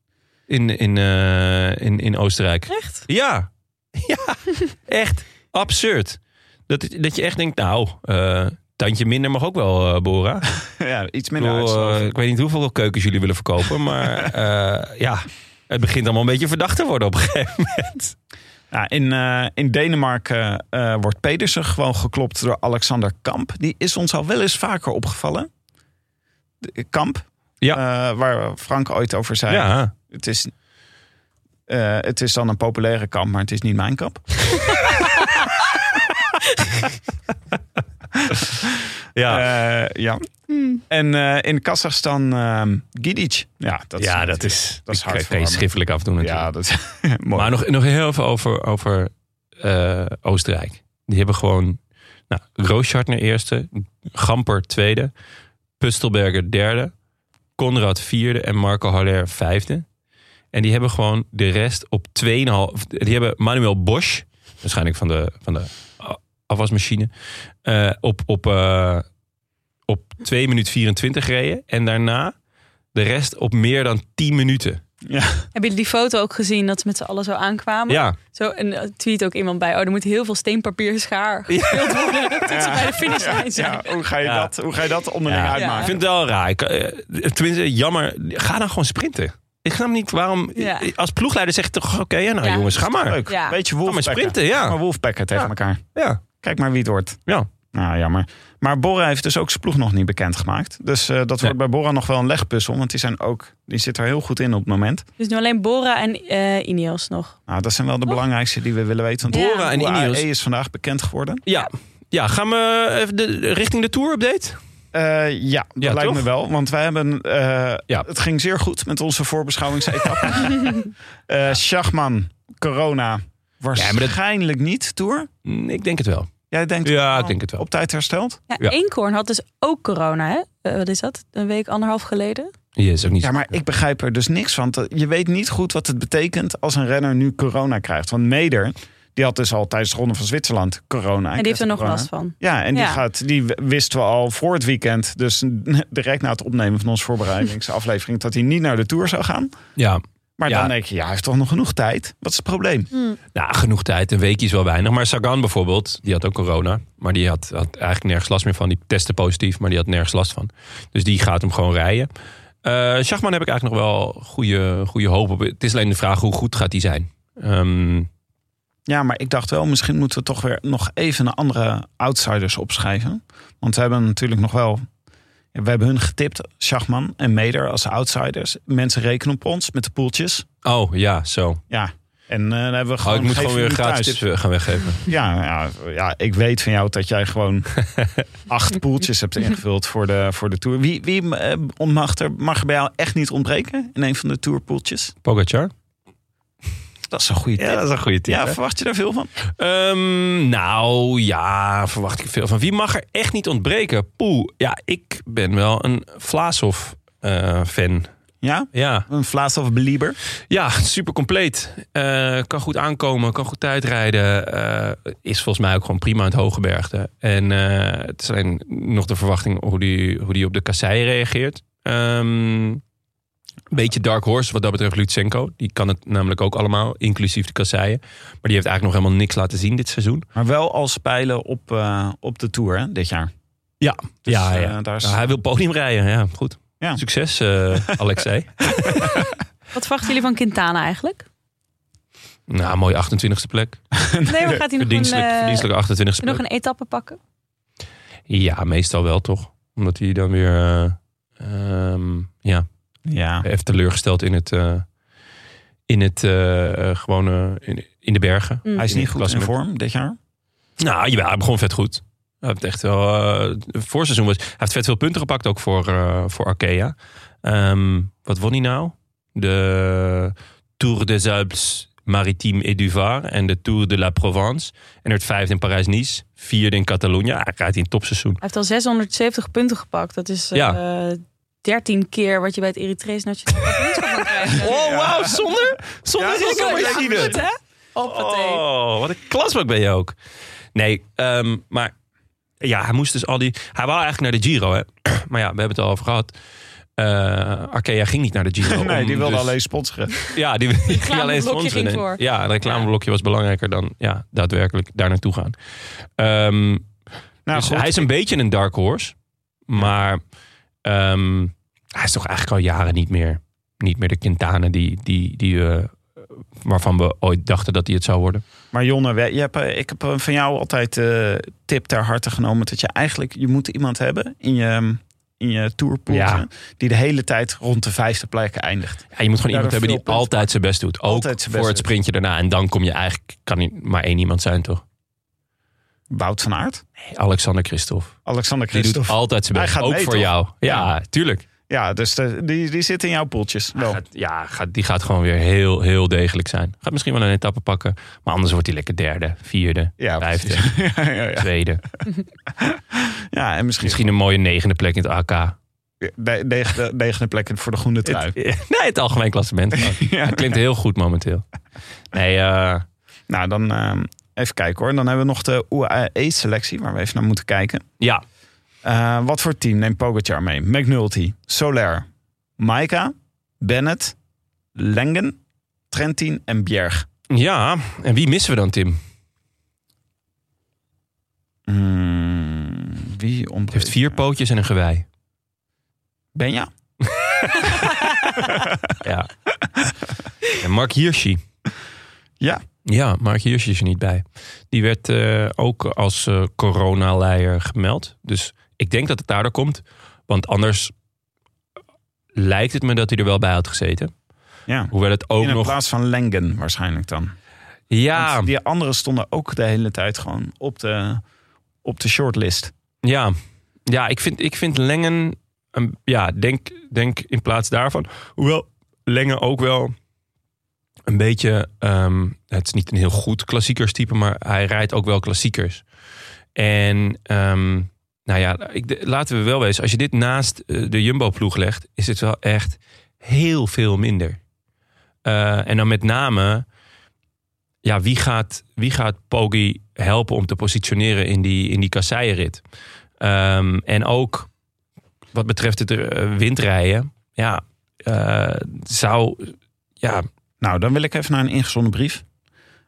S2: in, in, eh, in, in Oostenrijk.
S3: Echt?
S2: Ja. Ja. Echt absurd. Dat, dat je echt denkt, nou, eh, tandje minder mag ook wel, eh, Bora.
S1: ja, iets
S2: Ik
S1: minder
S2: bedoel,
S1: uitslag.
S2: eh, ik weet niet hoeveel keukens jullie willen verkopen, maar eh, ja, het begint allemaal een beetje verdacht te worden op een gegeven moment.
S1: Ja, in, eh, in Denemarken eh, wordt Pedersen gewoon geklopt door Alexander Kamp. Die is ons al wel eens vaker opgevallen. De- Kamp,
S2: Ja.
S1: eh, waar Frank ooit over zei.
S2: Ja,
S1: Het, is, eh, het is dan een populaire kamp, maar het is niet mijn kamp.
S2: ja.
S1: Eh, ja.
S3: Hmm.
S1: En eh, in Kazachstan ehm Gidic. Ja, dat
S2: ja,
S1: is,
S2: dat is,
S1: dat is
S2: ik kan je
S1: hartverwarmend.
S2: schriftelijk afdoen natuurlijk.
S1: Ja, dat is mooi.
S2: maar nog, nog heel even over, over eh, Oostenrijk. Die hebben gewoon nou, Rooschartner eerste, Gamper tweede, Pustelberger derde, Conrad vierde en Marco Haller vijfde. En die hebben gewoon de rest op 2,5. Die hebben Manuel Bosch, waarschijnlijk van de, van de a- afwasmachine, eh, op, op, eh, op 2 minuten 24 gereden. En daarna de rest op meer dan 10 minuten.
S3: Hebben jullie die foto ook gezien dat ze met z'n allen zo aankwamen?
S2: Ja,
S3: Zo en eh, tweet ook iemand bij. Oh, er moet heel veel steenpapier schaar gespeeld worden tot ze bij de finishlijn zijn.
S1: ja, hoe, ga je
S2: Ja.
S1: dat, hoe ga je dat onderling
S2: Ja.
S1: uitmaken?
S2: Ik vind het wel raar. Ik, eh, tenminste, jammer. Ga dan gewoon sprinten. Ik snap niet waarom...
S3: Ja.
S2: Als ploegleider zeg ik toch... Oké, ja, nou
S3: Ja.
S2: jongens, ga maar.
S1: Leuk,
S3: Ja.
S1: beetje
S2: Ga maar
S1: wolfpacken.
S2: sprinten,
S1: Ga
S2: ja.
S1: maar wolfpacken tegen
S2: Ja.
S1: elkaar.
S2: ja.
S1: Kijk maar wie het wordt.
S2: ja.
S1: Nou, jammer. Maar Bora heeft dus ook zijn ploeg nog niet bekendgemaakt. Dus eh, dat wordt bij Bora nog wel een legpuzzel. Want die, zijn ook, die zit er heel goed in op het moment.
S3: Dus nu alleen Bora en eh Ineos nog.
S1: Nou, dat zijn wel de belangrijkste die we willen weten. Want
S3: Ja.
S2: Oh. Bora en
S1: Bora
S2: Ineos.
S1: AE is vandaag bekend geworden.
S2: Ja. Ja, gaan we even de, richting de Tour-update?
S1: Eh, ja, dat
S2: Ja,
S1: lijkt
S2: toch?
S1: me wel. Want wij hebben... eh,
S2: Ja.
S1: Het ging zeer goed met onze voorbeschouwingsetappe. Eh Schachman, corona, waarschijnlijk niet, Tour.
S2: Hm, Ik denk het wel.
S1: Jij denkt
S2: Ja,
S1: wel
S2: ik denk het wel.
S1: op tijd hersteld?
S3: Ja,
S2: Ja.
S3: Eenkhoorn had dus ook corona, hè? Eh, wat is dat? Een week, anderhalf geleden?
S2: Ja, is ook niet...
S1: Ja, maar ik begrijp er dus niks van. Dat- Je weet niet goed wat het betekent als een renner nu corona krijgt. Want Meder, die had dus al tijdens de Ronde van Zwitserland corona.
S3: en die heeft er nog
S1: Corona.
S3: last van.
S1: Ja, en die,
S3: Ja.
S1: Gaat, die w- wisten we al voor het weekend. Dus direct na het opnemen van onze voorbereidingsaflevering... dat hij niet naar de Tour zou gaan.
S2: Ja.
S1: Maar
S2: Ja.
S1: dan denk je, ja, hij heeft toch nog genoeg tijd? Wat is het probleem?
S2: Nou, genoeg tijd. Een weekje is wel weinig. Maar Sagan bijvoorbeeld, die had ook corona. Maar die had, had eigenlijk nergens last meer van. Die testte positief, maar die had nergens last van. Dus die gaat hem gewoon rijden. Eh Schachman heb ik eigenlijk nog wel goede, goede hoop op. Het is alleen de vraag hoe goed gaat hij zijn. Ehm,
S1: Ja, maar ik dacht wel, misschien moeten we toch weer nog even een andere outsiders opschrijven. Want we hebben natuurlijk nog wel. We hebben hun getipt, Schachman en Meder als outsiders. Mensen rekenen op ons met de poeltjes.
S2: oh ja, zo.
S1: Ja. En eh, dan hebben we
S2: Oh,
S1: gewoon.
S2: ik moet
S1: geef
S2: gewoon weer
S1: jullie
S2: gratis
S1: thuis.
S2: tips eh, gaan weggeven.
S1: Ja, ja, ja, ik weet van jou dat jij gewoon acht poeltjes hebt ingevuld voor de, voor de tour. Wie, wie eh, mag, er, mag er bij jou echt niet ontbreken in een van de tourpoeltjes?
S2: Pogacar?
S1: Dat is een goede tip. Ja,
S2: is een goede
S1: verwacht je daar veel van?
S2: Ehm, nou ja, verwacht ik veel van. Wie mag er echt niet ontbreken? Poeh, ja, ik ben wel een Vlaashoff-fan.
S1: Ja?
S2: ja,
S1: Een Vlaas of Belieber?
S2: ja, super compleet. Eh, kan goed aankomen, kan goed tijdrijden. eh, is volgens mij ook gewoon prima in het hooggebergte. En eh, het is alleen nog de verwachting hoe die, hoe die op de kassei reageert. Ehm beetje dark horse wat dat betreft Lutsenko. Die kan het namelijk ook allemaal, inclusief de kasseien. Maar die heeft eigenlijk nog helemaal niks laten zien dit seizoen.
S1: Maar wel als pijlen op, eh, op de Tour hè, dit jaar.
S2: Ja,
S1: Dus,
S2: ja,
S1: eh,
S2: ja.
S1: daar is-
S2: Nou, hij wil podium rijden. Ja, goed.
S1: Ja.
S2: Succes, eh Alexei.
S3: Wat verwachten jullie van Quintana eigenlijk?
S2: nou, mooie 28e plek.
S3: Nee, maar gaat hij nog een,
S2: Verdienstelijk,
S3: eh,
S2: verdienstelijke 28e plek.
S3: nog een etappe pakken?
S2: Ja, meestal wel toch. Omdat hij dan weer eh, ehm, ja,
S1: Ja.
S2: heeft teleurgesteld in het, eh, in het eh, eh, gewone, in, in de bergen.
S3: Mm.
S1: Hij is
S2: In
S1: niet
S2: het
S1: goed in
S2: klassement.
S1: vorm dit jaar.
S2: Nou ja, hij begon vet goed. Hij heeft echt wel, eh, het voorseizoen was, hij heeft vet veel punten gepakt ook voor, eh, voor Arkea. Ehm, wat won hij nou? De Tour des Alpes Maritime et du Var en de Tour de la Provence. En werd vijfde in Parijs-Nice, vierde in Catalonië. Ja, hij rijdt in topseizoen.
S3: Hij heeft al 670 punten gepakt. Dat is eh, 13 keer wat je bij het Eritrees Nationaal Kampioenschap kan krijgen.
S2: Oh, wauw, zonder, zonder
S3: Ja,
S2: recordmachine.
S3: goed, hè? Hoppatee.
S2: Oh, wat een klasbak ben je ook. Nee, ehm, maar ja, hij moest dus al die... Hij wou eigenlijk naar de Giro, hè. Maar ja, we hebben het al over gehad. Eh Arkea ging niet naar de Giro.
S1: Nee,
S2: om
S1: die wilde
S2: dus-
S1: alleen sponsoren.
S2: Ja, die, die ging alleen
S3: reclameblokje
S2: sponsoren.
S3: ging
S2: En-
S3: voor.
S2: Ja, een reclameblokje was belangrijker dan ja, daadwerkelijk daar naartoe gaan. Ehm,
S1: Nou,
S2: dus
S1: goed.
S2: hij is een beetje een dark horse. Maar ehm, hij is toch eigenlijk al jaren niet meer, niet meer de Quintana die, die, die, eh, waarvan we ooit dachten dat hij het zou worden.
S1: Maar Jonne, we- je hebt, eh, ik heb eh, van jou altijd eh tip ter harte genomen... dat je eigenlijk je moet iemand hebben in je, in je tourpool...
S2: Ja.
S1: die de hele tijd rond de vijfde plek eindigt.
S2: Ja, je moet gewoon
S1: Ja, dat
S2: iemand hebben
S1: veel
S2: die
S1: punten
S2: altijd zijn best doet. Ook
S1: Altijd zijn best
S2: voor het
S1: doet.
S2: sprintje daarna. En dan kom je eigenlijk, kan niet maar één iemand zijn toch?
S1: Wout van Aert,
S2: Hey, Alexander Christophe.
S1: Alexander
S2: Die doet
S1: Christophe.
S2: altijd zijn
S1: Hij
S2: best.
S1: gaat
S2: Ook
S1: mee,
S2: voor
S1: toch?
S2: jou. Ja, tuurlijk.
S1: Ja, dus de- die, die zit in jouw poeltjes. Wel.
S2: Gaat- ja, gaat, die gaat gewoon weer heel, heel degelijk zijn. Gaat misschien wel een etappe pakken. Maar anders wordt hij lekker derde, vierde,
S1: Ja,
S2: vijfde,
S1: precies. ja, ja, ja.
S2: tweede.
S1: ja, en misschien,
S2: Misschien een mooie negende plek in het AK.
S1: de- negende, negende plek voor de groene trui.
S2: Nee, het algemeen klassement.
S1: Ja.
S2: Dat klinkt heel goed momenteel. Nee, eh,
S1: Nou, dan ehm, even kijken hoor. Dan hebben we nog de UAE-selectie waar we even naar moeten kijken.
S2: ja.
S1: Eh, wat voor team neemt Pogacar mee? McNulty, Soler, Maika, Bennett, Lengen, Trentin en Bjerg.
S2: ja, en wie missen we dan, Tim?
S1: Hmm, wie
S2: Het
S1: ontbreekt?
S2: heeft vier pootjes en een gewei.
S1: Benja?
S2: Ja. En Mark Hirschi.
S1: Ja.
S2: Ja, Mark Hirschi is er niet bij. Die werd eh, ook als eh coronaleier gemeld. Dus ik denk dat het daardoor komt. Want anders lijkt het me dat hij er wel bij had gezeten.
S1: Ja.
S2: Hoewel het ook
S1: In
S2: nog...
S1: plaats van Lengen waarschijnlijk dan.
S2: Ja,
S1: Want die anderen stonden ook de hele tijd gewoon op de, op de shortlist.
S2: ja. ja ik, vind, ik vind Lengen... een- ja, denk, denk in plaats daarvan. Hoewel Lengen ook wel een beetje... ehm, het is niet een heel goed klassiekerstype... maar hij rijdt ook wel klassiekers. En ehm, nou ja, ik, de- laten we wel wezen... als je dit naast eh, de Jumbo-ploeg legt... is het wel echt heel veel minder. Eh, en dan met name... Ja, wie gaat, wie gaat Poggi helpen om te positioneren in die, in die kasseienrit? Ehm, en ook wat betreft het eh, windrijden... Ja, eh, zou ja,
S1: Nou, dan wil ik even naar een ingezonden brief.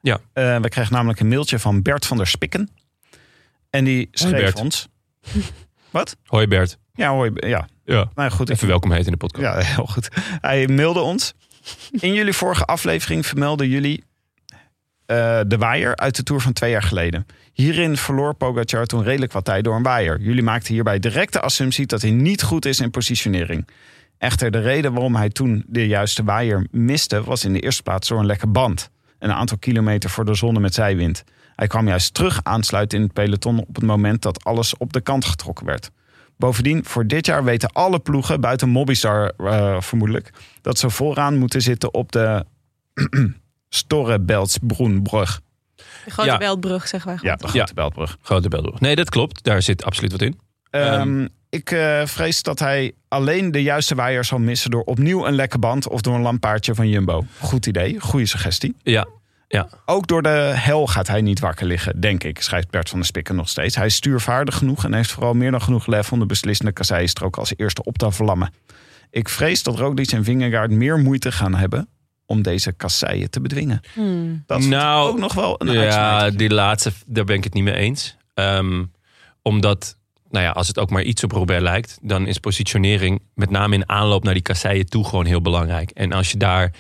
S2: Ja.
S1: Eh, we kregen namelijk een mailtje van Bert van der Spikken. En die schreef
S2: Bert.
S1: ons.
S2: hoi Bert.
S1: Ja, hoi. Ja,
S2: Ja,
S1: nou ja, goed.
S2: even welkom heten in de podcast.
S1: Ja, heel goed. Hij mailde ons. In jullie vorige aflevering vermelden jullie eh, de waaier uit de Tour van twee jaar geleden. Hierin verloor Pogacar toen redelijk wat tijd door een waaier. Jullie maakten hierbij direct de assumptie dat hij niet goed is in positionering. Echter, de reden waarom hij toen de juiste waaier miste... was in de eerste plaats door een lekke band. Een aantal kilometer voor de zon met zijwind. Hij kwam juist terug aansluiten in het peloton... op het moment dat alles op de kant getrokken werd. Bovendien, voor dit jaar weten alle ploegen, buiten Mobistar eh, vermoedelijk, dat ze vooraan moeten zitten op de Storebeltsbroenbrug.
S3: De grote
S2: Ja.
S3: Weldbrug, zeg maar.
S1: Ja, de grote
S2: Ja.
S1: Beltbrug.
S2: Grote Beldoor. Nee, dat klopt. Daar zit absoluut wat in.
S1: Ehm,
S2: Ehm.
S1: ik eh, vrees dat hij alleen de juiste waaier zal missen door opnieuw een lekke band of door een lampaardje van Jumbo. Goed idee, goede suggestie.
S2: Ja,
S1: Ook door de hel gaat hij niet wakker liggen, denk ik, schrijft Bert van der Spikken nog steeds. Hij is stuurvaardig genoeg en heeft vooral meer dan genoeg lef om de beslissende kasseienstrook als eerste op te vlammen. Ik vrees dat Roglic en Vingegaard meer moeite gaan hebben om deze kasseien te bedwingen.
S3: Hmm.
S1: Dat is
S2: Nou,
S1: ook nog wel een
S2: ja
S1: uitsmijter.
S2: die laatste, daar ben ik het niet mee eens. Ehm, omdat, nou ja, als het ook maar iets op Robert lijkt, dan is positionering met name in aanloop naar die kasseien toe gewoon heel belangrijk. En als je daar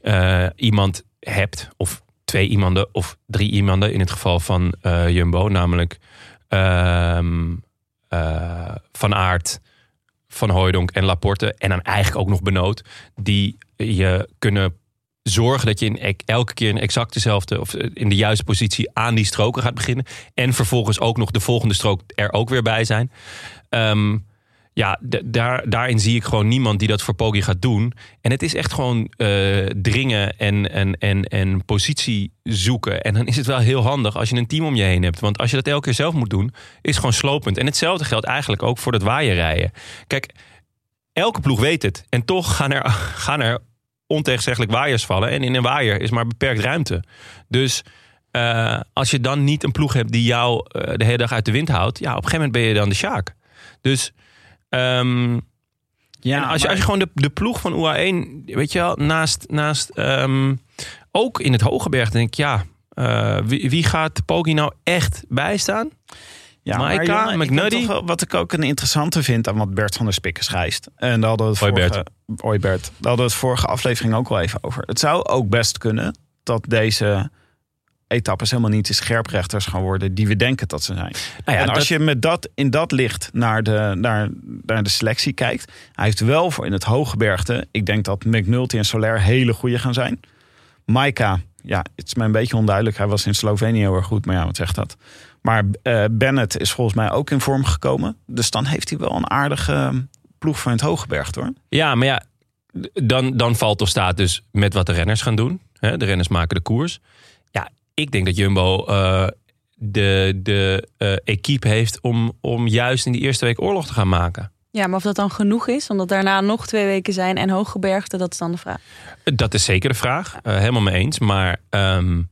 S2: eh, iemand hebt, of twee iemanden, of drie iemanden, in het geval van eh, Jumbo, namelijk ehm, eh, Van Aert, Van Hooijdonk en Laporte, en dan eigenlijk ook nog Benoot, die je kunnen zorgen dat je in ek- elke keer in exact dezelfde of eh, in de juiste positie aan die stroken gaat beginnen. En vervolgens ook nog de volgende strook er ook weer bij zijn. Ehm, ja, d- daar, daarin zie ik gewoon niemand die dat voor Poggi gaat doen. En het is echt gewoon eh, dringen en, en, en, en positie zoeken. En dan is het wel heel handig als je een team om je heen hebt. Want als je dat elke keer zelf moet doen, is gewoon slopend. En hetzelfde geldt eigenlijk ook voor dat waaierrijden. Kijk, elke ploeg weet het. En toch gaan er, gaan er ontegenzeggelijk waaiers vallen. En in een waaier is maar beperkt ruimte. Dus eh, als je dan niet een ploeg hebt die jou eh, de hele dag uit de wind houdt, ja, op een gegeven moment ben je dan de Sjaak. Dus ehm, en als, je, als je gewoon de, de ploeg van UA1, weet je wel, naast, naast ehm, ook in het Hogeberg, denk ik, ja, eh, wie, wie gaat Poggi nou echt bijstaan?
S1: Ja,
S2: Maika,
S1: Marianne, ik ben
S2: McNuddy.
S1: toch wel- wat ik ook een interessante vind aan wat Bert van der Spikken schrijft. En daar hadden we het
S2: Hoi,
S1: vorige, Hoi Bert. Daar hadden we het vorige aflevering ook wel even over. Het zou ook best kunnen dat deze etappes helemaal niet de scherprechters gaan worden die we denken dat ze zijn.
S2: Nou ja,
S1: en als
S2: dat-
S1: je met dat, in dat licht naar de, naar, naar de selectie kijkt, hij heeft wel voor in het hooggebergte, ik denk dat McNulty en Soler hele goede gaan zijn. Maika, ja, het is mij een beetje onduidelijk. Hij was in Slovenië heel erg goed, maar ja, wat zegt dat? Maar eh, Bennett is volgens mij ook in vorm gekomen. Dus dan heeft hij wel een aardige eh, ploeg van het Hogeberg, hoor.
S2: Ja, maar ja, d- dan, dan valt of staat dus met wat de renners gaan doen. Hè, de renners maken de koers. Ja, ik denk dat Jumbo eh, de, de eh, equipe heeft om, om juist in die eerste week oorlog te gaan maken.
S3: Ja, maar of dat dan genoeg is, omdat daarna nog twee weken zijn en hooggebergte, dat is dan de vraag.
S2: Dat is zeker de vraag. Eh, helemaal mee eens. Maar ehm,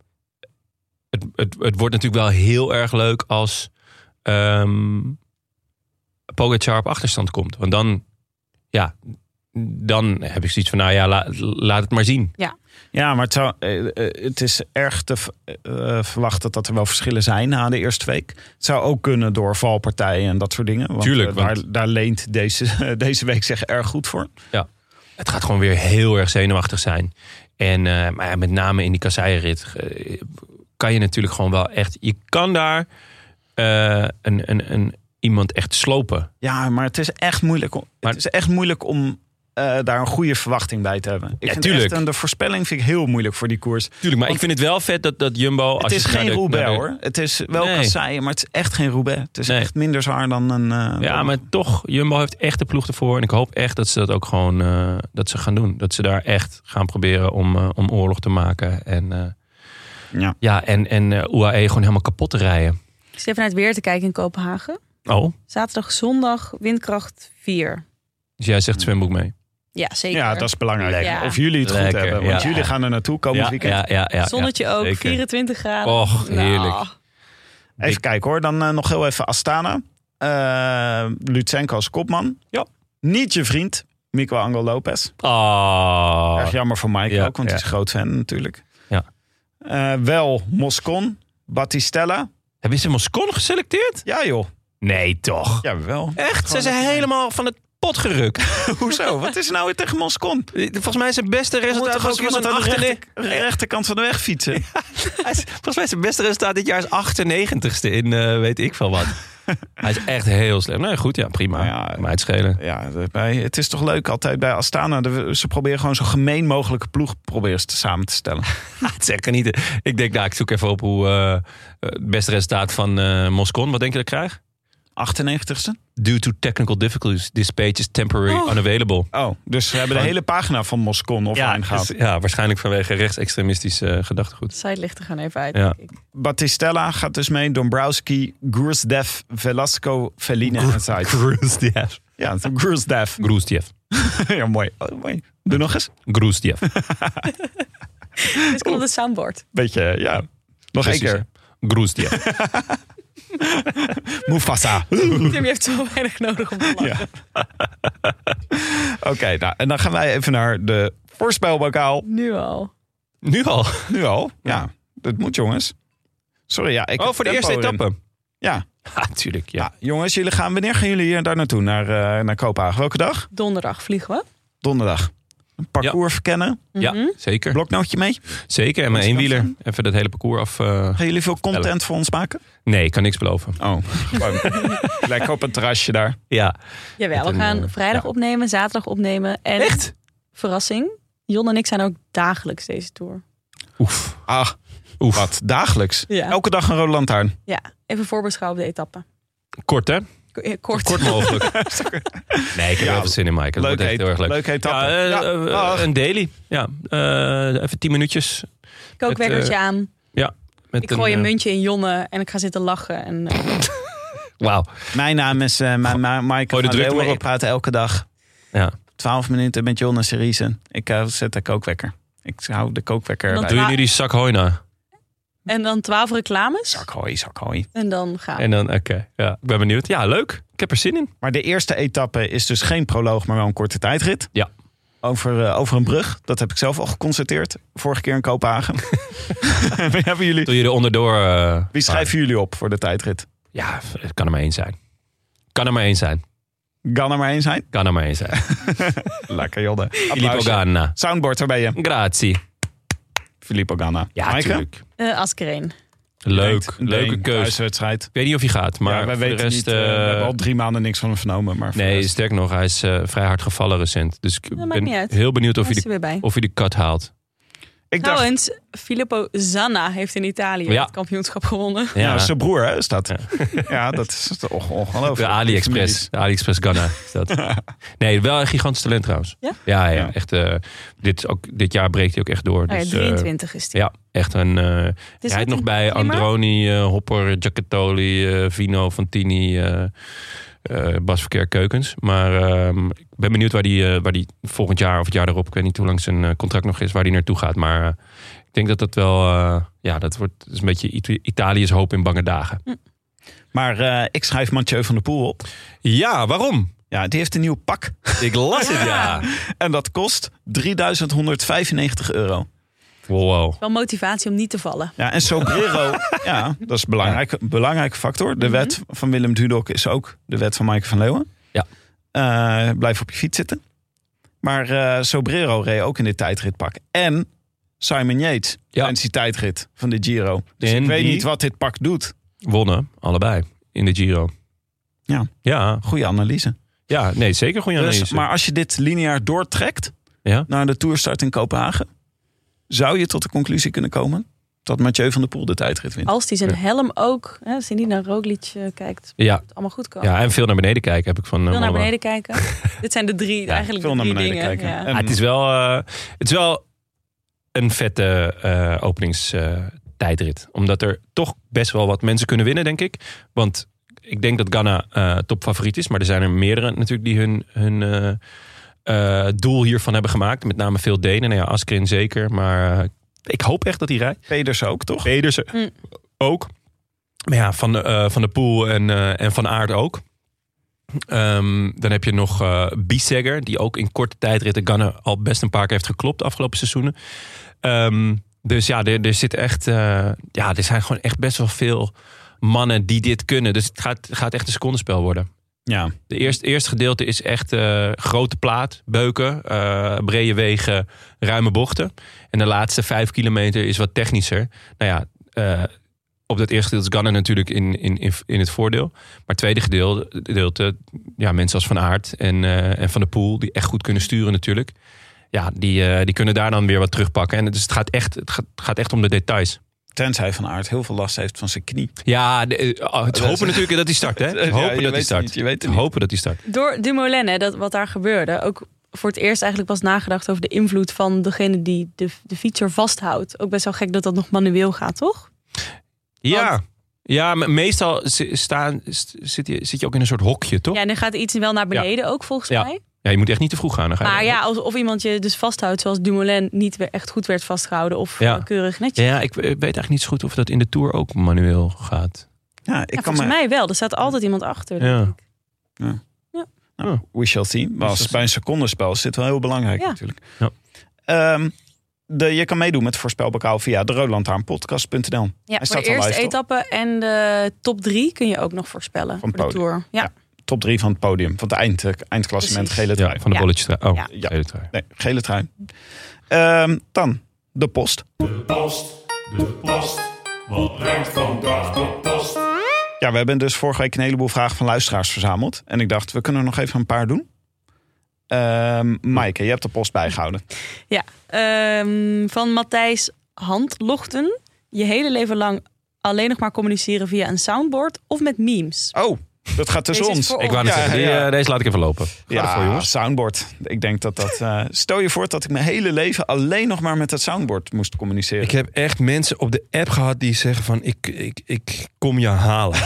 S2: het, het, het wordt natuurlijk wel heel erg leuk als ehm Pogacar op achterstand komt. Want dan, ja, dan heb ik zoiets van, nou ja, la- laat het maar zien.
S1: Ja, maar het, zou, eh, eh, het is erg te v- eh, verwachten dat er wel verschillen zijn na de eerste week. Het zou ook kunnen door valpartijen en dat soort dingen. Want,
S2: Tuurlijk,
S1: eh,
S2: want-
S1: Daar, daar leent deze, deze week zich erg goed voor.
S2: Het gaat gewoon weer heel erg zenuwachtig zijn. En eh, maar ja, met name in die kasseienrit eh, kan je natuurlijk gewoon wel echt... Je kan daar eh, een, een, een, iemand echt slopen.
S1: Ja, maar het is echt moeilijk om,
S2: Maar-
S1: het is echt moeilijk om eh, daar een goede verwachting bij te hebben. Ik
S2: Ja,
S1: vind
S2: tuurlijk.
S1: Echt, en de voorspelling vind ik heel moeilijk voor die koers.
S2: Tuurlijk, maar ik vind het wel vet dat, dat Jumbo...
S1: het
S2: als je
S1: is
S2: naar
S1: geen
S2: de-
S1: Roubaix
S2: naar de-
S1: hoor. Het is wel
S2: Nee.
S1: kasseien, maar het is echt geen Roubaix. Het is
S2: Nee.
S1: echt minder zwaar dan een... eh,
S2: Ja,
S1: dan-
S2: maar toch, Jumbo heeft echt de ploeg ervoor. En ik hoop echt dat ze dat ook gewoon eh, dat ze gaan doen. Dat ze daar echt gaan proberen om, eh, om oorlog te maken. En, eh,
S1: Ja.
S2: ja, en, en eh, UAE gewoon helemaal kapot te rijden.
S3: Ik zit even naar het weer te kijken in Kopenhagen.
S2: Oh,
S3: Zaterdag, zondag, windkracht 4.
S2: dus jij zegt zwemboek mee.
S3: Ja, zeker.
S1: Ja, dat is belangrijk.
S3: Ja.
S1: Of jullie het goed
S2: Lekker,
S1: hebben. Want
S2: ja.
S1: jullie gaan er naartoe komend
S2: ja,
S1: weekend.
S2: ja, ja, ja, ja.
S3: Zonnetje ook,
S2: zeker.
S3: 24 graden.
S2: Och,
S3: Nou,
S2: Oh, heerlijk.
S1: Even
S2: Ik-
S1: kijken hoor. Dan eh, nog heel even Astana. Eh Lutsenko als kopman.
S2: Ja.
S1: Niet je vriend, Mico Angel Lopez.
S2: Ah.
S1: Erg jammer voor Mike
S2: Ja,
S1: ook, want
S2: ja.
S1: hij is groot fan natuurlijk.
S2: Ja.
S1: Eh, wel Moscon, Battistella.
S2: Hebben ze Moscon geselecteerd?
S1: Ja joh,
S2: Nee, toch?
S1: jawel.
S2: Echt? Ze zijn helemaal van het pot gerukt.
S1: Hoezo? Wat is er nou weer tegen Moscon?
S2: Volgens mij zijn beste
S1: Moet
S2: resultaat
S1: toch
S2: was,
S1: ook
S2: was
S1: iemand
S2: een
S1: aan de
S2: 98.
S1: rechter- rechterkant van de weg fietsen?
S2: Hij is- Volgens mij zijn beste resultaat dit jaar is 98ste in eh, weet ik veel wat. Hij is echt heel slecht. Nou ja, goed, ja, prima.
S1: Nou ja,
S2: maar het schelen.
S1: ja, bij, het is toch leuk altijd bij Astana. de- Ze proberen gewoon zo gemeen mogelijke ploeg proberen ze te- samen te stellen.
S2: Het is echt Ah, niet. Ik denk, nou, ik zoek even op hoe eh, eh, het beste resultaat van eh Moscon. Wat denk je dat ik krijg?
S1: 98ste?
S2: Due to technical difficulties, this page is temporarily unavailable.
S1: Oh, dus ze hebben de hele pagina van Moscon offline gehaald.
S2: dus- ja, waarschijnlijk vanwege rechtsextremistisch eh, gedachtegoed.
S3: Zij ligt er gewoon even uit.
S2: Ja.
S3: denk ik.
S1: Battistella gaat dus mee. Dombrowski, Groesdev, Velasco, Fellini aan het site.
S2: Groesdiev.
S1: Ja, het is Groesdev.
S2: Groesdiev.
S1: ja, mooi. Oh, mooi. Doe nog eens.
S2: Groesdiev.
S3: Dit komt op het soundboard.
S1: Beetje, ja. Nog één
S2: Precies,
S1: keer.
S2: hè. Groesdiev.
S1: Mufasa.
S3: Tim, je hebt zo weinig nodig om te lachen.
S1: Ja. Oké, nou, en dan gaan wij even naar de voorspelbokaal.
S3: Nu al.
S2: Nu al.
S1: Nu al? Ja, dat moet jongens. Sorry, ja. Ik
S2: Oh,
S1: heb
S2: voor de
S1: tempo
S2: eerste
S1: erin.
S2: etappe.
S1: Ja.
S2: Ha, tuurlijk, ja.
S1: Ja, jongens, jullie gaan, wanneer gaan jullie hier daar naartoe? Naar, eh, naar Kopenhagen? Welke dag?
S3: Donderdag vliegen we.
S1: Donderdag. Een parcours verkennen.
S2: Ja,
S3: Mhm.
S2: zeker.
S1: Bloknootje mee.
S2: Zeker. En mijn
S1: Is dat
S2: eenwieler. Even dat hele parcours af. eh,
S1: Gaan jullie veel content voor ons maken?
S2: Nee, ik kan niks beloven.
S1: Oh, lekker op een terrasje daar.
S2: Ja.
S3: Jawel,
S2: Met
S3: we
S2: een,
S3: gaan
S2: eh,
S3: vrijdag
S2: ja.
S3: opnemen, zaterdag opnemen. En
S2: Echt?
S3: verrassing, Jon en ik zijn ook dagelijks deze tour.
S2: Oef.
S1: Ah,
S2: Oef.
S1: wat? Dagelijks?
S3: Ja.
S1: Elke dag een rode lantaarn.
S3: Ja, Oh. even voorbeschouwen op de etappe.
S2: Kort, hè?
S3: Ko- eh, Kort.
S2: Kort mogelijk. nee, ik heb
S1: Ja,
S2: heel veel zin in, Mike. Dat wordt
S1: Leuk,
S2: echt
S1: heet,
S2: heel erg leuk.
S1: leuk heet
S2: Ja, eh,
S1: Ja,
S2: eh,
S1: dag.
S2: een daily. Ja. Eh, even tien minuutjes.
S3: Kookwekkertje
S2: Het,
S3: aan.
S2: eh, Met
S3: Ik gooi
S2: een,
S3: een
S2: eh,
S3: muntje in Jonne en ik ga zitten lachen. En, eh,
S2: Wauw.
S1: Mijn naam is eh Ma- Ma- Mike
S2: Gooi de
S1: van
S2: druk er
S1: Leeuwen.
S2: maar op.
S1: Ik praat elke dag
S2: Ja.
S1: 12 minuten met John en Cerise. Ik eh, zet de kookwekker. Ik hou de kookwekker
S3: Dan
S1: bij.
S2: Doe je nu die zak hoina?
S3: en dan twaalf reclames.
S1: Zakhooi, zakhooi.
S3: En dan gaan we.
S2: En dan, oké. Ja, ik ben benieuwd. Ja, leuk. Ik heb er zin in.
S1: Maar de eerste etappe is dus geen proloog, maar wel een korte tijdrit.
S2: Ja.
S1: Over, eh, over een brug. Dat heb ik zelf al geconstateerd. Vorige keer in Kopenhagen. Wie hebben jullie?
S2: Doe je er onderdoor. eh,
S1: Wie schrijven jullie op voor de tijdrit?
S2: Ja, het kan er maar één zijn. Kan er maar één zijn.
S1: Kan er maar één zijn.
S2: Kan er maar één zijn.
S1: Lekker, Jodde.
S2: Filippo
S1: Applausje.
S2: Ganna.
S1: Soundboard, daar ben je.
S2: Grazie.
S1: Filippo Ganna.
S2: Ja,
S1: Maaike?
S2: tuurlijk.
S3: Eh, Askreen.
S2: Leuk.
S1: Een
S2: Leuke
S1: Deen,
S2: keus.
S1: thuiswedstrijd.
S2: Ik weet niet of hij gaat, maar
S1: Maar wij
S2: voor de
S1: weten
S2: rest...
S1: niet. eh, we
S2: eh,
S1: hebben al drie maanden niks van hem vernomen. Maar voor de
S2: nee,
S1: rest-
S2: sterk nog, hij is eh, vrij hard gevallen recent. Dus ik
S3: maakt niet
S2: ben
S3: uit.
S2: heel benieuwd of
S3: Daar
S2: hij,
S3: is
S2: de,
S3: hij weer bij.
S2: of hij de kat haalt.
S3: Oh,
S1: ik dacht,
S3: Trouwens, Filippo Zanna heeft in Italië
S2: Ja.
S3: het kampioenschap gewonnen.
S2: Ja,
S1: ja, nou, zijn broer hè, is dat. Ja, dat is toch ongelooflijk.
S2: de AliExpress.
S1: Families.
S2: De AliExpress Ghana is dat. Nee, wel een gigantisch talent trouwens.
S3: Ja?
S2: Ja, ja,
S1: Ja.
S2: echt. eh, dit, ook, dit jaar breekt hij ook echt door.
S3: Ah ja,
S2: Dus, eh,
S3: 23 is die.
S2: ja, echt een... eh
S3: Het
S2: hij
S3: is ook
S2: heeft nog
S3: een
S2: bij
S3: klimmer.
S2: Androni, eh, Hopper, Giacattoli, eh, Vino, Fantini, eh eh, Bas Verkeer Keukens. Maar ehm, ik ben benieuwd waar die, eh, waar die volgend jaar of het jaar erop, ik weet niet hoe lang zijn eh, contract nog is, waar die naartoe gaat. Maar eh, ik denk dat dat wel, eh, ja, dat wordt dat is een beetje Ita- Italië's hoop in bange dagen.
S1: Maar eh, ik schrijf Mathieu van der Poel op.
S2: Ja, waarom?
S1: Ja, die heeft een nieuw pak.
S2: Ik las het, ja.
S1: En dat kost 3195 euro.
S2: Wow, wow.
S3: Wel motivatie om niet te vallen.
S1: Ja, en Sobrero, ja, dat is een belangrijke, belangrijke factor.
S2: Mhm.
S1: De wet van Willem Dudok is ook de wet van Maaike van Leeuwen.
S2: Ja.
S1: Eh, blijf op je fiets zitten. Maar eh, Sobrero reed ook in dit tijdritpak. En Simon Yates
S2: Ja.
S1: tijdens die tijdrit van de Giro. Dus
S2: En
S1: ik weet
S2: die-
S1: niet wat dit pak doet.
S2: Wonnen, allebei, in de Giro.
S1: Ja.
S2: Ja,
S1: Goede analyse.
S2: ja nee, zeker goede
S1: Dus,
S2: analyse.
S1: maar als je dit lineair doortrekt
S2: Ja.
S1: naar de toerstart in Kopenhagen, zou je tot de conclusie kunnen komen dat Mathieu van der Poel de tijdrit wint.
S3: Als die zijn
S2: Ja.
S3: helm ook, hè, als hij niet naar Roglic eh, kijkt,
S2: Ja,
S3: het allemaal goed komen.
S2: ja, en veel naar beneden kijken heb ik van... eh,
S3: Veel naar
S2: Mollema.
S3: beneden kijken. Dit zijn de drie,
S2: Ja,
S3: eigenlijk
S1: Veel
S3: de
S1: naar
S3: drie
S1: beneden
S3: dingen.
S1: kijken.
S3: Ja.
S1: En-
S2: Ah, het, is wel, eh, het is wel een vette eh, openingstijdrit. Omdat er toch best wel wat mensen kunnen winnen, denk ik. Want ik denk dat Ghana eh, topfavoriet is. Maar er zijn er meerdere natuurlijk die hun, hun eh, eh, doel hiervan hebben gemaakt. Met name veel Denen. Nou ja, Askrin zeker. Maar eh, ik hoop echt dat hij rijdt.
S1: Pedersen ook, toch?
S2: Pedersen
S3: Mm.
S2: ook. Maar ja, van, de, eh, van de Poel en, eh, en van Aard ook. Ehm, dan heb je nog eh Biesegger, die ook in korte tijdritten Ganna al best een paar keer heeft geklopt de afgelopen seizoenen. Ehm, dus ja, er, er zit echt, eh, ja, er zijn gewoon echt best wel veel mannen die dit kunnen. Dus het gaat, gaat echt een secondenspel worden.
S1: Ja,
S2: De eerste, eerste gedeelte is echt eh, grote plaat, beuken, eh, brede wegen, ruime bochten. En de laatste vijf kilometer is wat technischer. Nou ja, eh, op dat eerste gedeelte is Ganna natuurlijk in, in, in, in het voordeel. Maar het tweede gedeelte, gedeelte ja, mensen als Van Aert en, eh, en Van der Poel, die echt goed kunnen sturen natuurlijk. Ja, die, eh, die kunnen daar dan weer wat terugpakken. En dus het gaat echt, het gaat, het gaat echt om de details.
S1: tenzij Van Aard heel veel last heeft van zijn knie.
S2: Ja, de- eh, oh, het is
S1: Dat-
S2: hopen natuurlijk dat hij start, hè?
S1: Ja, je
S2: Hopen
S1: weet
S2: dat hij
S1: het
S2: start.
S1: niet, je weet het niet.
S2: Hopen dat hij start.
S3: Door Dumoulin, hè, dat, wat daar gebeurde. Ook voor het eerst eigenlijk was nagedacht over de invloed van degene die de, de fietser vasthoudt. Ook best wel gek dat dat nog manueel gaat, toch?
S2: Ja.
S3: Want-
S2: Ja, maar meestal zi- staan, st- zit, je, zit je ook in een soort hokje, toch?
S3: Ja,
S2: Ja,
S3: en dan gaat iets wel naar beneden ook, volgens
S2: Ja.
S3: mij.
S2: je moet echt niet te vroeg gaan. Dan ga je
S3: Maar
S2: wel-
S3: ja, alsof iemand je dus vasthoudt, zoals Dumoulin niet weer echt goed werd vastgehouden. Of
S2: Ja.
S3: eh, keurig netjes.
S2: ja, ja, ik weet eigenlijk niet zo goed of dat in de Tour ook manueel gaat.
S1: Ja, ik
S3: Ja,
S1: kan me...
S3: volgens mij wel. Er staat altijd iemand achter.
S2: Ja.
S3: denk ik.
S1: Nou, we shall see. Maar als, bij een secondenspel is dit wel heel belangrijk
S3: Ja.
S1: natuurlijk.
S2: Ja.
S1: Ehm, de, je kan meedoen met voorspelbokaal via de roodlantaarnpodcast.nl.
S3: Ja,
S1: Hij
S3: voor
S1: staat
S3: de
S1: al
S3: eerste
S1: lijst, toch?
S3: etappe en de top drie kun je ook nog
S1: Van
S3: voorspellen. voor de
S1: podium.
S3: Tour. Ja.
S1: Top drie van het podium, van het eind, eh, eindklassement
S3: Precies.
S1: gele
S2: Ja,
S1: trui.
S2: van de
S3: Ja.
S2: bolletje trui. Oh,
S3: Ja.
S2: ja. gele trui.
S1: Nee, gele trui. Ehm, dan de post.
S4: Wat brengt vandaag de post?
S1: Ja, we hebben dus vorige week een heleboel vragen van luisteraars verzameld. En ik dacht, we kunnen er nog even een paar doen. Ehm Maaike, je hebt de post bijgehouden.
S3: Ehm, van Matthijs Handlochten. Je hele leven lang alleen nog maar communiceren via een soundboard of met memes.
S1: Oh, dat gaat tussen
S3: Deze is
S1: ons.
S3: voor
S2: Ik wou net
S1: Ja,
S2: zeggen, die,
S1: ja.
S2: eh, deze laat ik even lopen. Ga
S1: Ja,
S2: ervoor, jongens.
S1: soundboard. Ik denk dat dat... eh, stel je voor dat ik mijn hele leven alleen nog maar met dat soundboard moest communiceren.
S2: Ik heb echt mensen op de app gehad die zeggen van ik, ik, ik kom je halen.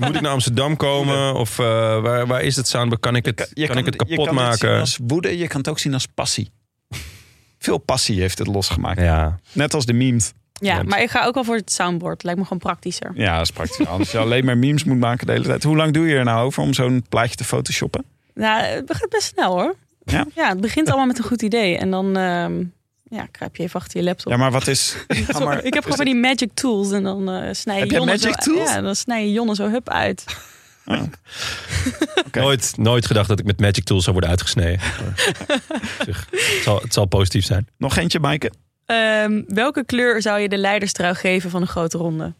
S2: Moet ik naar Amsterdam komen? Of eh, waar, waar is het soundboard? Kan ik het, kan, ik het
S1: je
S2: kapot
S1: kan het zien
S2: maken?
S1: als woede, je kan het ook zien als passie. Veel passie heeft het losgemaakt.
S2: Ja,
S1: Net als de memes.
S3: Ja,
S2: Ja.
S3: maar ik ga ook wel voor het soundboard. Lijkt me gewoon praktischer.
S1: Ja, dat is praktisch. Als je alleen maar memes moet maken de hele tijd. Hoe lang doe je er nou over om zo'n plaatje te photoshoppen?
S3: Nou, het gaat best snel hoor.
S1: Ja?
S3: het begint allemaal met een goed idee. En dan ehm ja, kruip je even achter je laptop.
S1: Ja, maar wat is... Ja,
S3: Sorry,
S1: maar,
S3: ik heb gewoon van die magic tools en dan eh snij je
S1: Heb jij
S3: Jonne
S1: magic
S3: zo,
S1: tools?
S3: Ja, dan snij je Jonne zo hup uit.
S1: Ah. Oké.
S2: nooit, nooit gedacht dat ik met Magic Tools zou worden uitgesneden. Zeg, het, zal, het zal positief zijn.
S1: Nog eentje, Maaike?
S3: Ehm, welke kleur zou je de leiderstrui geven van een grote ronde?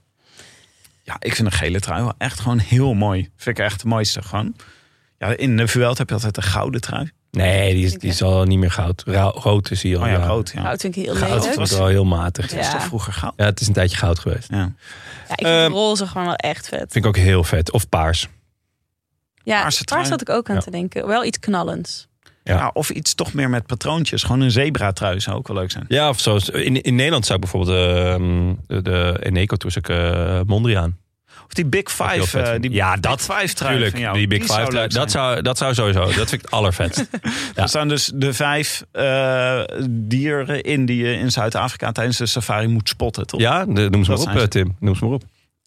S1: Ja, ik vind een gele trui wel echt gewoon heel mooi. Vind ik echt het mooiste gewoon. Ja, in de Vuelta heb je altijd een gouden trui.
S2: Nee, die is, die is al niet meer goud. Ra- Rood is hier al.
S1: Oh ja,
S2: ja.
S1: rood. Ja.
S3: Nou, dat vind ik heel
S2: Goud
S3: lelijk.
S2: was wel heel matig.
S1: Dat was
S3: Ja.
S1: toch vroeger goud?
S2: Ja, het is een tijdje goud geweest.
S1: Ja.
S3: Ja, ik vind
S2: Ehm,
S3: roze gewoon wel echt vet.
S2: Vind ik ook heel vet. Of paars.
S3: Ja,
S1: paarse trui.
S3: waar zat ik ook aan
S2: Ja.
S3: te denken. Wel iets knallends.
S2: Ja.
S1: Nou, of iets toch meer met patroontjes. Gewoon een zebra trui zou ook wel leuk zijn.
S2: Ja, of zoals in, in Nederland zou ik bijvoorbeeld ehm, de, de Eneco toen ik eh, Mondriaan.
S1: Of die Big
S2: ik heel
S1: Five.
S2: vet
S1: eh,
S2: vind.
S1: die
S2: Ja,
S1: Big
S2: dat
S1: Five trui.
S2: Tuurlijk,
S1: van jou.
S2: die Big Five.
S1: zou
S2: trui.
S1: leuk
S2: dat,
S1: zijn.
S2: zou, dat zou sowieso. Dat vind ik het allervetst. ja.
S1: Er staan dus de vijf eh, dieren in die je in Zuid-Afrika tijdens de safari moet spotten. Toch?
S2: ja, de- noem ze
S1: Dat
S2: maar op,
S1: zijn ze.
S2: eh, Tim. Noem ze maar op.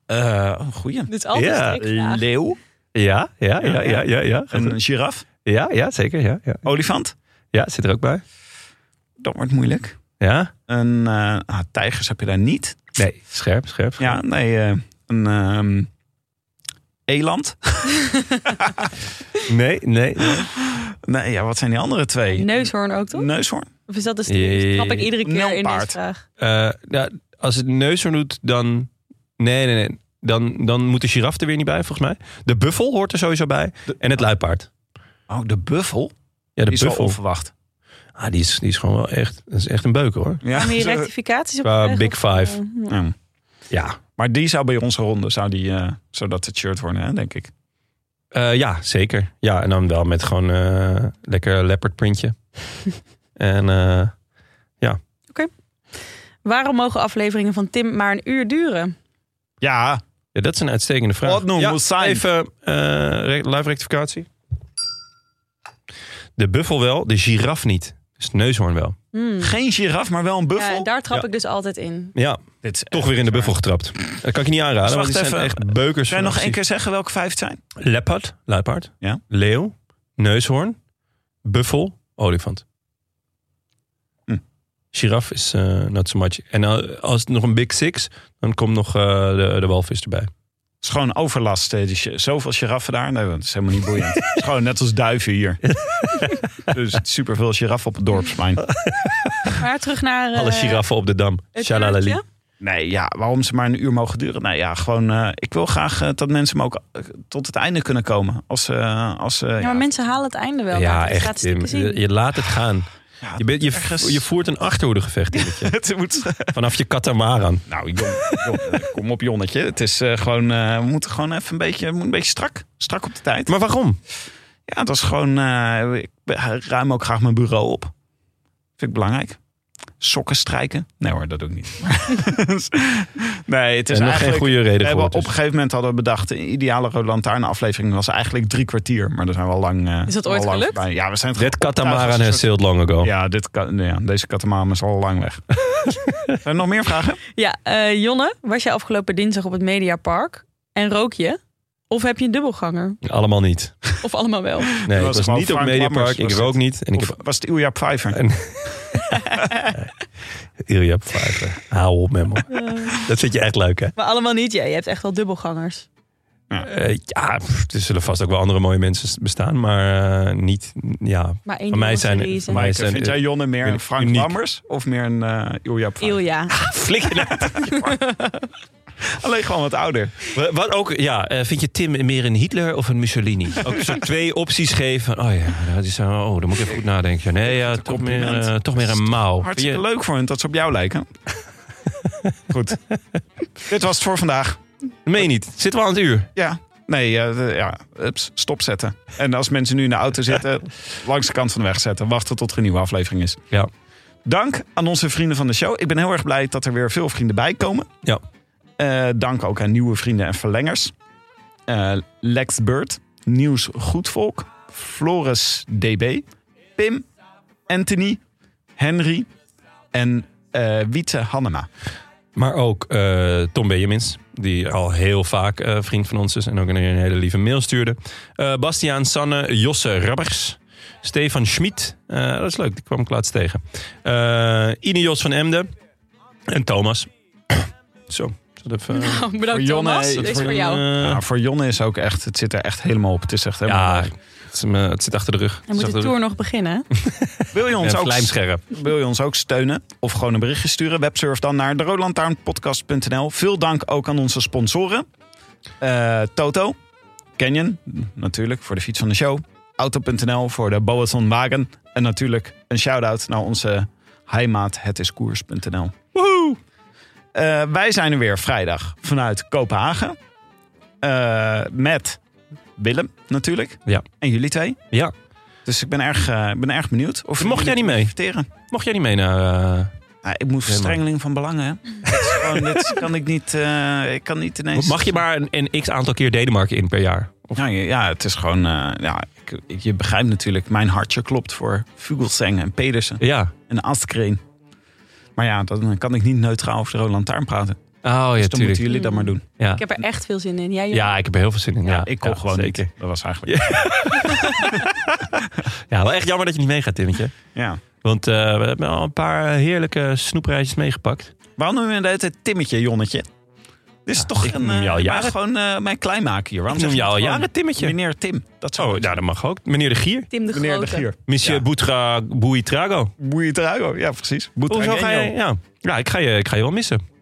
S1: Eh, oh, goeie.
S3: Dit is altijd
S2: Ja,
S3: een strikvraag.
S1: Leeuw.
S2: Ja, ja, ja, ja, ja. Ja,
S1: Een giraf.
S2: ja, ja zeker. Ja, ja.
S1: Olifant.
S2: ja, zit er ook bij.
S1: Dat wordt moeilijk.
S2: Ja?
S1: Een eh, ah, tijgers heb je daar niet.
S2: Nee, scherp, scherp. scherp.
S1: Ja, nee. eh, een ehm, eland.
S2: Nee, nee. nee.
S1: Nee, ja, wat zijn die andere twee?
S3: Neushoorn ook, toch?
S1: Neushoorn.
S3: Of is dat de
S2: Ja.
S3: strip? Trap ik iedere keer in deze
S1: Nijlpaard.
S3: vraag.
S2: Eh, ja, als het neushoorn doet, dan. Nee, nee, nee. Dan, dan moet de giraf er weer niet bij, volgens mij. De buffel hoort er sowieso bij. En het luipaard.
S1: Oh, de buffel.
S2: Ja, de
S1: die is wel
S2: buffel.
S1: onverwacht.
S2: Ah, die, is, die is gewoon wel echt. Dat is echt een beuker hoor.
S1: Ja,
S3: Gaan we hier
S1: zo-
S3: rectificaties op
S2: Qua
S3: krijgen?
S2: Big
S3: Of,
S2: Five.
S3: eh, ja.
S1: Ja.
S2: Ja.
S1: Maar die zou bij onze ronde, zou die, eh, zou dat het shirt worden, hè, denk ik.
S2: Eh, ja, zeker. Ja, en dan wel met gewoon eh, lekker leopard printje. en eh,
S3: Waarom mogen afleveringen van Tim maar een uur duren?
S1: Ja,
S2: ja, dat is een uitstekende vraag.
S1: Wat nou
S2: ja,
S1: moet zijn?
S2: Even eh, re- live rectificatie. De buffel wel, de giraf niet. Dus de neushoorn wel.
S3: Hmm.
S1: geen giraf, maar wel een buffel.
S3: Ja, daar trap
S2: Ja.
S3: ik dus altijd in.
S2: Ja,
S1: Dit is
S2: Toch weer in de buffel getrapt. Dat kan ik je niet aanraden,
S1: Dus wacht
S2: want die zijn
S1: even.
S2: echt beukers.
S1: Zou je
S2: van
S1: nog één
S2: acties.
S1: keer zeggen welke vijf het zijn?
S2: Leopard, luipaard,
S1: Ja.
S2: leeuw, neushoorn, buffel, olifant.
S1: Hm.
S2: Giraf is eh not so much. En eh, als het nog een big six, dan komt nog eh, de, de walvis erbij.
S1: Het is gewoon overlast. eh, die gi- zoveel giraffen daar. Nee, dat is helemaal niet boeiend. Het is gewoon net als duiven hier. dus superveel giraffen op het dorpsplein.
S3: Maar terug naar eh,
S2: Alle giraffen op de dam.
S3: het
S2: Shalalali.
S3: uurtje.
S1: Nee, ja, waarom ze maar een uur mogen duren? Nou ja, gewoon, eh, ik wil graag eh, dat mensen me ook eh, tot het einde kunnen komen. Als, eh, als, eh,
S3: Ja,
S1: ja,
S3: maar mensen halen het einde wel.
S2: Ja,
S3: Ja,
S2: echt. Tim. Je, je laat het gaan.
S1: ja,
S2: Je, bent, je,
S1: ergens-
S2: je voert een achterhoedegevecht in het je.
S1: het moet,
S2: Vanaf je katamaran.
S1: nou, Jon, Jon, eh, kom op, Jonnetje. Het is eh, gewoon, eh, we moeten gewoon even een beetje, we moeten een beetje strak, strak op de tijd.
S2: Maar waarom?
S1: Ja, dat is gewoon, eh, ik be- ruim ook graag mijn bureau op. Vind ik belangrijk. Sokken strijken? Nee hoor, dat doe ik niet. nee, het is
S2: Er nog geen
S1: eigenlijk...
S2: goede
S1: We
S2: reden voor.
S1: hebben op een
S2: dus.
S1: gegeven moment hadden we bedacht, de ideale Rode Lantaarn-aflevering was eigenlijk drie kwartier. Maar daar zijn we al lang. eh,
S3: Is dat
S1: al
S3: ooit
S1: lang
S3: gelukt?
S1: voorbij. Ja, we zijn het
S2: That
S1: gewoon opgetuigd als
S2: katamaran
S1: een
S2: has
S1: soort-
S2: sailed long ago.
S1: Ja, dit, ka- ja, deze katamaran is al lang weg. zijn er nog meer vragen?
S3: Ja, eh, Jonne, was jij afgelopen dinsdag op het Mediapark en rook je? Of heb je een dubbelganger?
S2: Allemaal niet.
S3: Of allemaal wel?
S2: Nee,
S1: was
S2: ik was
S1: gewoon
S2: niet op
S1: Frank
S2: Mediapark.
S1: Lammers,
S2: Ik
S1: was
S2: rook
S1: het.
S2: niet. En ik
S1: Of
S2: heb
S1: was het Ilja Pfeiffer?
S2: Ilja Pfeiffer. Hou op met me.
S3: Eh,
S2: Dat vind je echt leuk, hè?
S3: maar allemaal niet. Jij je hebt echt wel dubbelgangers.
S2: Eh, ja, pff, er zullen vast ook wel andere mooie mensen s- bestaan. Maar eh, niet, ja.
S3: Maar één
S2: Van mij
S3: dubbel
S2: zijn-
S3: series en-
S2: van mij-
S1: Maaike,
S2: zijn-
S1: eh, vind jij Jonne meer een
S2: eh, uniek.
S1: Frank Lammers of meer een eh Ilja Pfeiffer?
S3: Ilja.
S2: Flikker
S1: nou.
S2: dat.
S1: Alleen gewoon wat ouder.
S2: Wa- Wat ook, ja. eh, Vind je Tim meer een Hitler of een Mussolini? Ook zo twee opties geven. van, Oh ja, dat is, eh, oh, dan moet ik even goed nadenken. Nee, ja, toch, meer,
S1: compliment.
S2: eh, toch meer een mouw. Vind
S1: Hartstikke
S2: je-
S1: leuk voor hen dat ze op jou lijken. Goed. Dit was het voor vandaag.
S2: Meen je niet. Zitten we aan het uur.
S1: Ja. Nee, eh, ja, ups, stopzetten. En als mensen nu in de auto zitten, langs de kant van de weg zetten. Wachten tot er een nieuwe aflevering is.
S2: Ja.
S1: Dank aan onze vrienden van de show. Ik ben heel erg blij dat er weer veel vrienden bij komen.
S2: Ja.
S1: Eh, dank ook aan nieuwe vrienden en verlengers. Eh, Lex Bird, Nieuws Goedvolk, Floris DB, Pim, Anthony, Henry en eh Wietse Hannema.
S2: Maar ook eh, Tom Benjamins, die al heel vaak eh, vriend van ons is en ook een een hele lieve mail stuurde. Eh, Bastiaan Sanne, Josse Rabbers, Stefan Schmid, eh, dat is leuk, die kwam ik laatst tegen. Eh Ine Jos van Emden en Thomas. Zo, dat even... eh,
S3: Oh,
S1: Voor
S3: bedankt
S1: Jonne,
S3: Thomas.
S1: eh,
S3: Dit is
S1: voor
S3: voor jou.
S2: eh,
S1: Ja, voor Jonne is ook echt, het zit er echt helemaal op. Het is echt helemaal
S2: ja,
S1: mooi.
S2: het, is me- het zit achter de rug.
S3: Dan moet de tour nog beginnen.
S1: Wil je, ons
S2: Een
S1: ook,
S2: vlijmscherm.
S1: wil je ons ook steunen of gewoon een berichtje sturen? Websurf dan naar deroodlantaarnpodcast.nl. Veel dank ook aan onze sponsoren. Eh, Toto, Canyon natuurlijk voor de fiets van de show. Auto.nl voor de Boaton Wagen. En natuurlijk een shout-out naar onze heimaat hetiskoers.nl. Woehoe! Eh, wij zijn er weer vrijdag vanuit Kopenhagen. Eh, met Willem natuurlijk.
S2: Ja.
S1: En jullie twee.
S2: Ja,
S1: Dus ik ben erg, eh, ik ben erg benieuwd. Of
S2: Mocht jij
S1: jullie
S2: niet mee?
S1: inviteren.
S2: mocht jij niet mee naar... eh,
S1: Nou, ik moet verstrengeling van belangen. hè. Dit is gewoon- Dit kan ik niet. eh, ik kan niet ineens.
S2: mag je maar een, een x aantal keer Denemarken in per jaar? Of,
S1: Ja, ja, ja, het is gewoon. eh, ja, ik- ik- je begrijpt natuurlijk. Mijn hartje klopt voor Vugelsang en Pedersen
S2: ja.
S1: en Astkreen. Maar ja, dan kan ik niet neutraal over de Roland Taarn praten.
S2: Oh ja,
S1: Dus dan
S2: tuurlijk.
S1: moeten jullie dat maar doen.
S2: Ja.
S3: Ik heb er echt veel zin in. Jij, Jonne?
S2: ja, ik heb er heel veel zin in. Ja,
S1: ik kon
S2: Ja,
S1: gewoon
S2: zeker.
S1: niet. Dat was eigenlijk. Ja.
S2: Ja, wel echt jammer dat je niet meegaat, Timmetje. Want eh, we hebben al een paar heerlijke snoepreisjes meegepakt.
S1: Waarom noemen we de hele tijd Timmetje, Jonnetje? Dit is
S2: Ja,
S1: toch
S2: ik
S1: een.
S2: noem
S1: eh,
S2: jou
S1: maar
S2: jaren-
S1: gewoon eh, mijn kleinmaken hier. Waarom
S2: Ik noem
S1: zeg je
S2: jou al
S1: niet
S2: jaren
S1: gewoon
S2: Timmetje.
S1: Meneer Tim. Dat zou
S2: Oh, nou, dat mag ook. Meneer de Gier.
S3: Tim de
S1: Meneer de
S3: Grote.
S1: Gier.
S2: Monsieur
S1: Ja.
S2: Boutra Bouitrago.
S1: Moet je eruit? Ja, precies.
S2: Hoezo ga je... Ja, ja ik, ga je, ik ga je wel missen.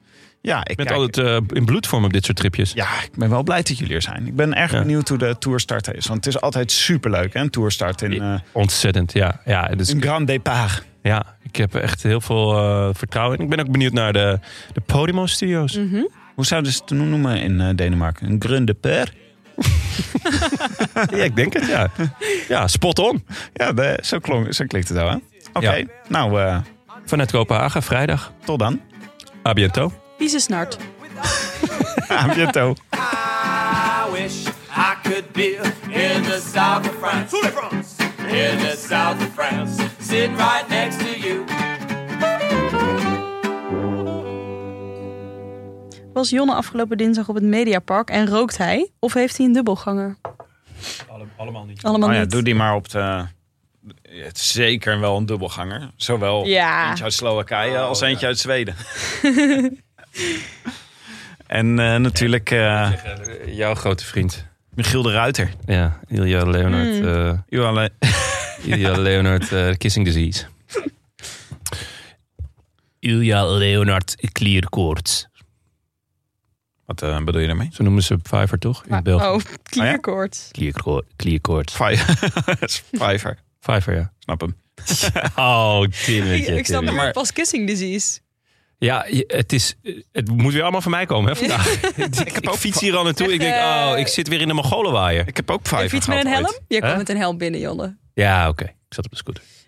S1: Ja, ik
S2: Je bent
S1: kijk-
S2: altijd eh, in bloedvorm op dit soort tripjes.
S1: Ja, ik ben wel blij dat jullie er zijn. Ik ben erg
S2: Ja.
S1: benieuwd hoe de tourstart is. Want het is altijd superleuk, hè? Een tourstart in, eh
S2: Ontzettend, ja. Ja, dus,
S1: een grand départ.
S2: ja, ik heb echt heel veel eh, vertrouwen in. Ik ben ook benieuwd naar de, de Podimo Studios.
S1: Hoe zouden ze het toen noemen in eh, Denemarken? Een grand départ?
S2: Ja, ik denk het, ja. Ja, spot on.
S1: Ja, de- zo, klonk, zo klinkt het wel, hè? Oké,
S2: Ja.
S1: nou, eh,
S2: Vanuit Kopenhagen, vrijdag.
S1: tot dan.
S2: A bientôt.
S3: Wie is Nart?
S1: A bientôt.
S5: I wish I could be in the south of France. In the south of France. Sitting right next to you.
S3: Was Jonne afgelopen dinsdag op het Mediapark en rookt hij? Of heeft hij een dubbelganger?
S2: allemaal niet.
S3: Allemaal
S1: Nou ja,
S3: niet.
S1: doe die maar op de... Het is zeker wel een dubbelganger. Zowel
S3: Ja.
S1: eentje uit Slowakije als
S2: Oh,
S1: eentje uit Zweden. en eh, natuurlijk eh,
S2: Jouw grote vriend.
S1: Michiel de Ruiter.
S2: Ja, Ilja Leonard. eh,
S1: U alleen.
S2: Ilja Leonard eh, Kissing Disease. Ilja Leonard Klierkoorts.
S1: Wat eh, bedoel je daarmee?
S2: Zo noemen ze Pfeiffer toch? In België.
S3: Oh, klierkoorts.
S2: Klierkoor- Klierkoorts.
S1: Vijver.
S2: Pfeiffer, ja.
S1: Snap hem.
S2: Oh, timmetje.
S3: Ik snap
S2: timmetje.
S3: het
S1: maar-
S3: maar pas kissing disease.
S2: Ja, je- het, is, het moet weer allemaal van mij komen hè, vandaag. ik, heb ook fiets hier al naartoe. Ik denk, oh, ik zit weer in de Mongolenwaaier.
S1: Ik heb ook
S3: Een
S1: vijver
S3: fiets met een
S1: gehad
S3: helm?
S1: ooit.
S3: Jij kwam
S2: Hè?
S3: met een helm binnen, Jonne.
S2: Ja, oké. Ik zat op de scooter.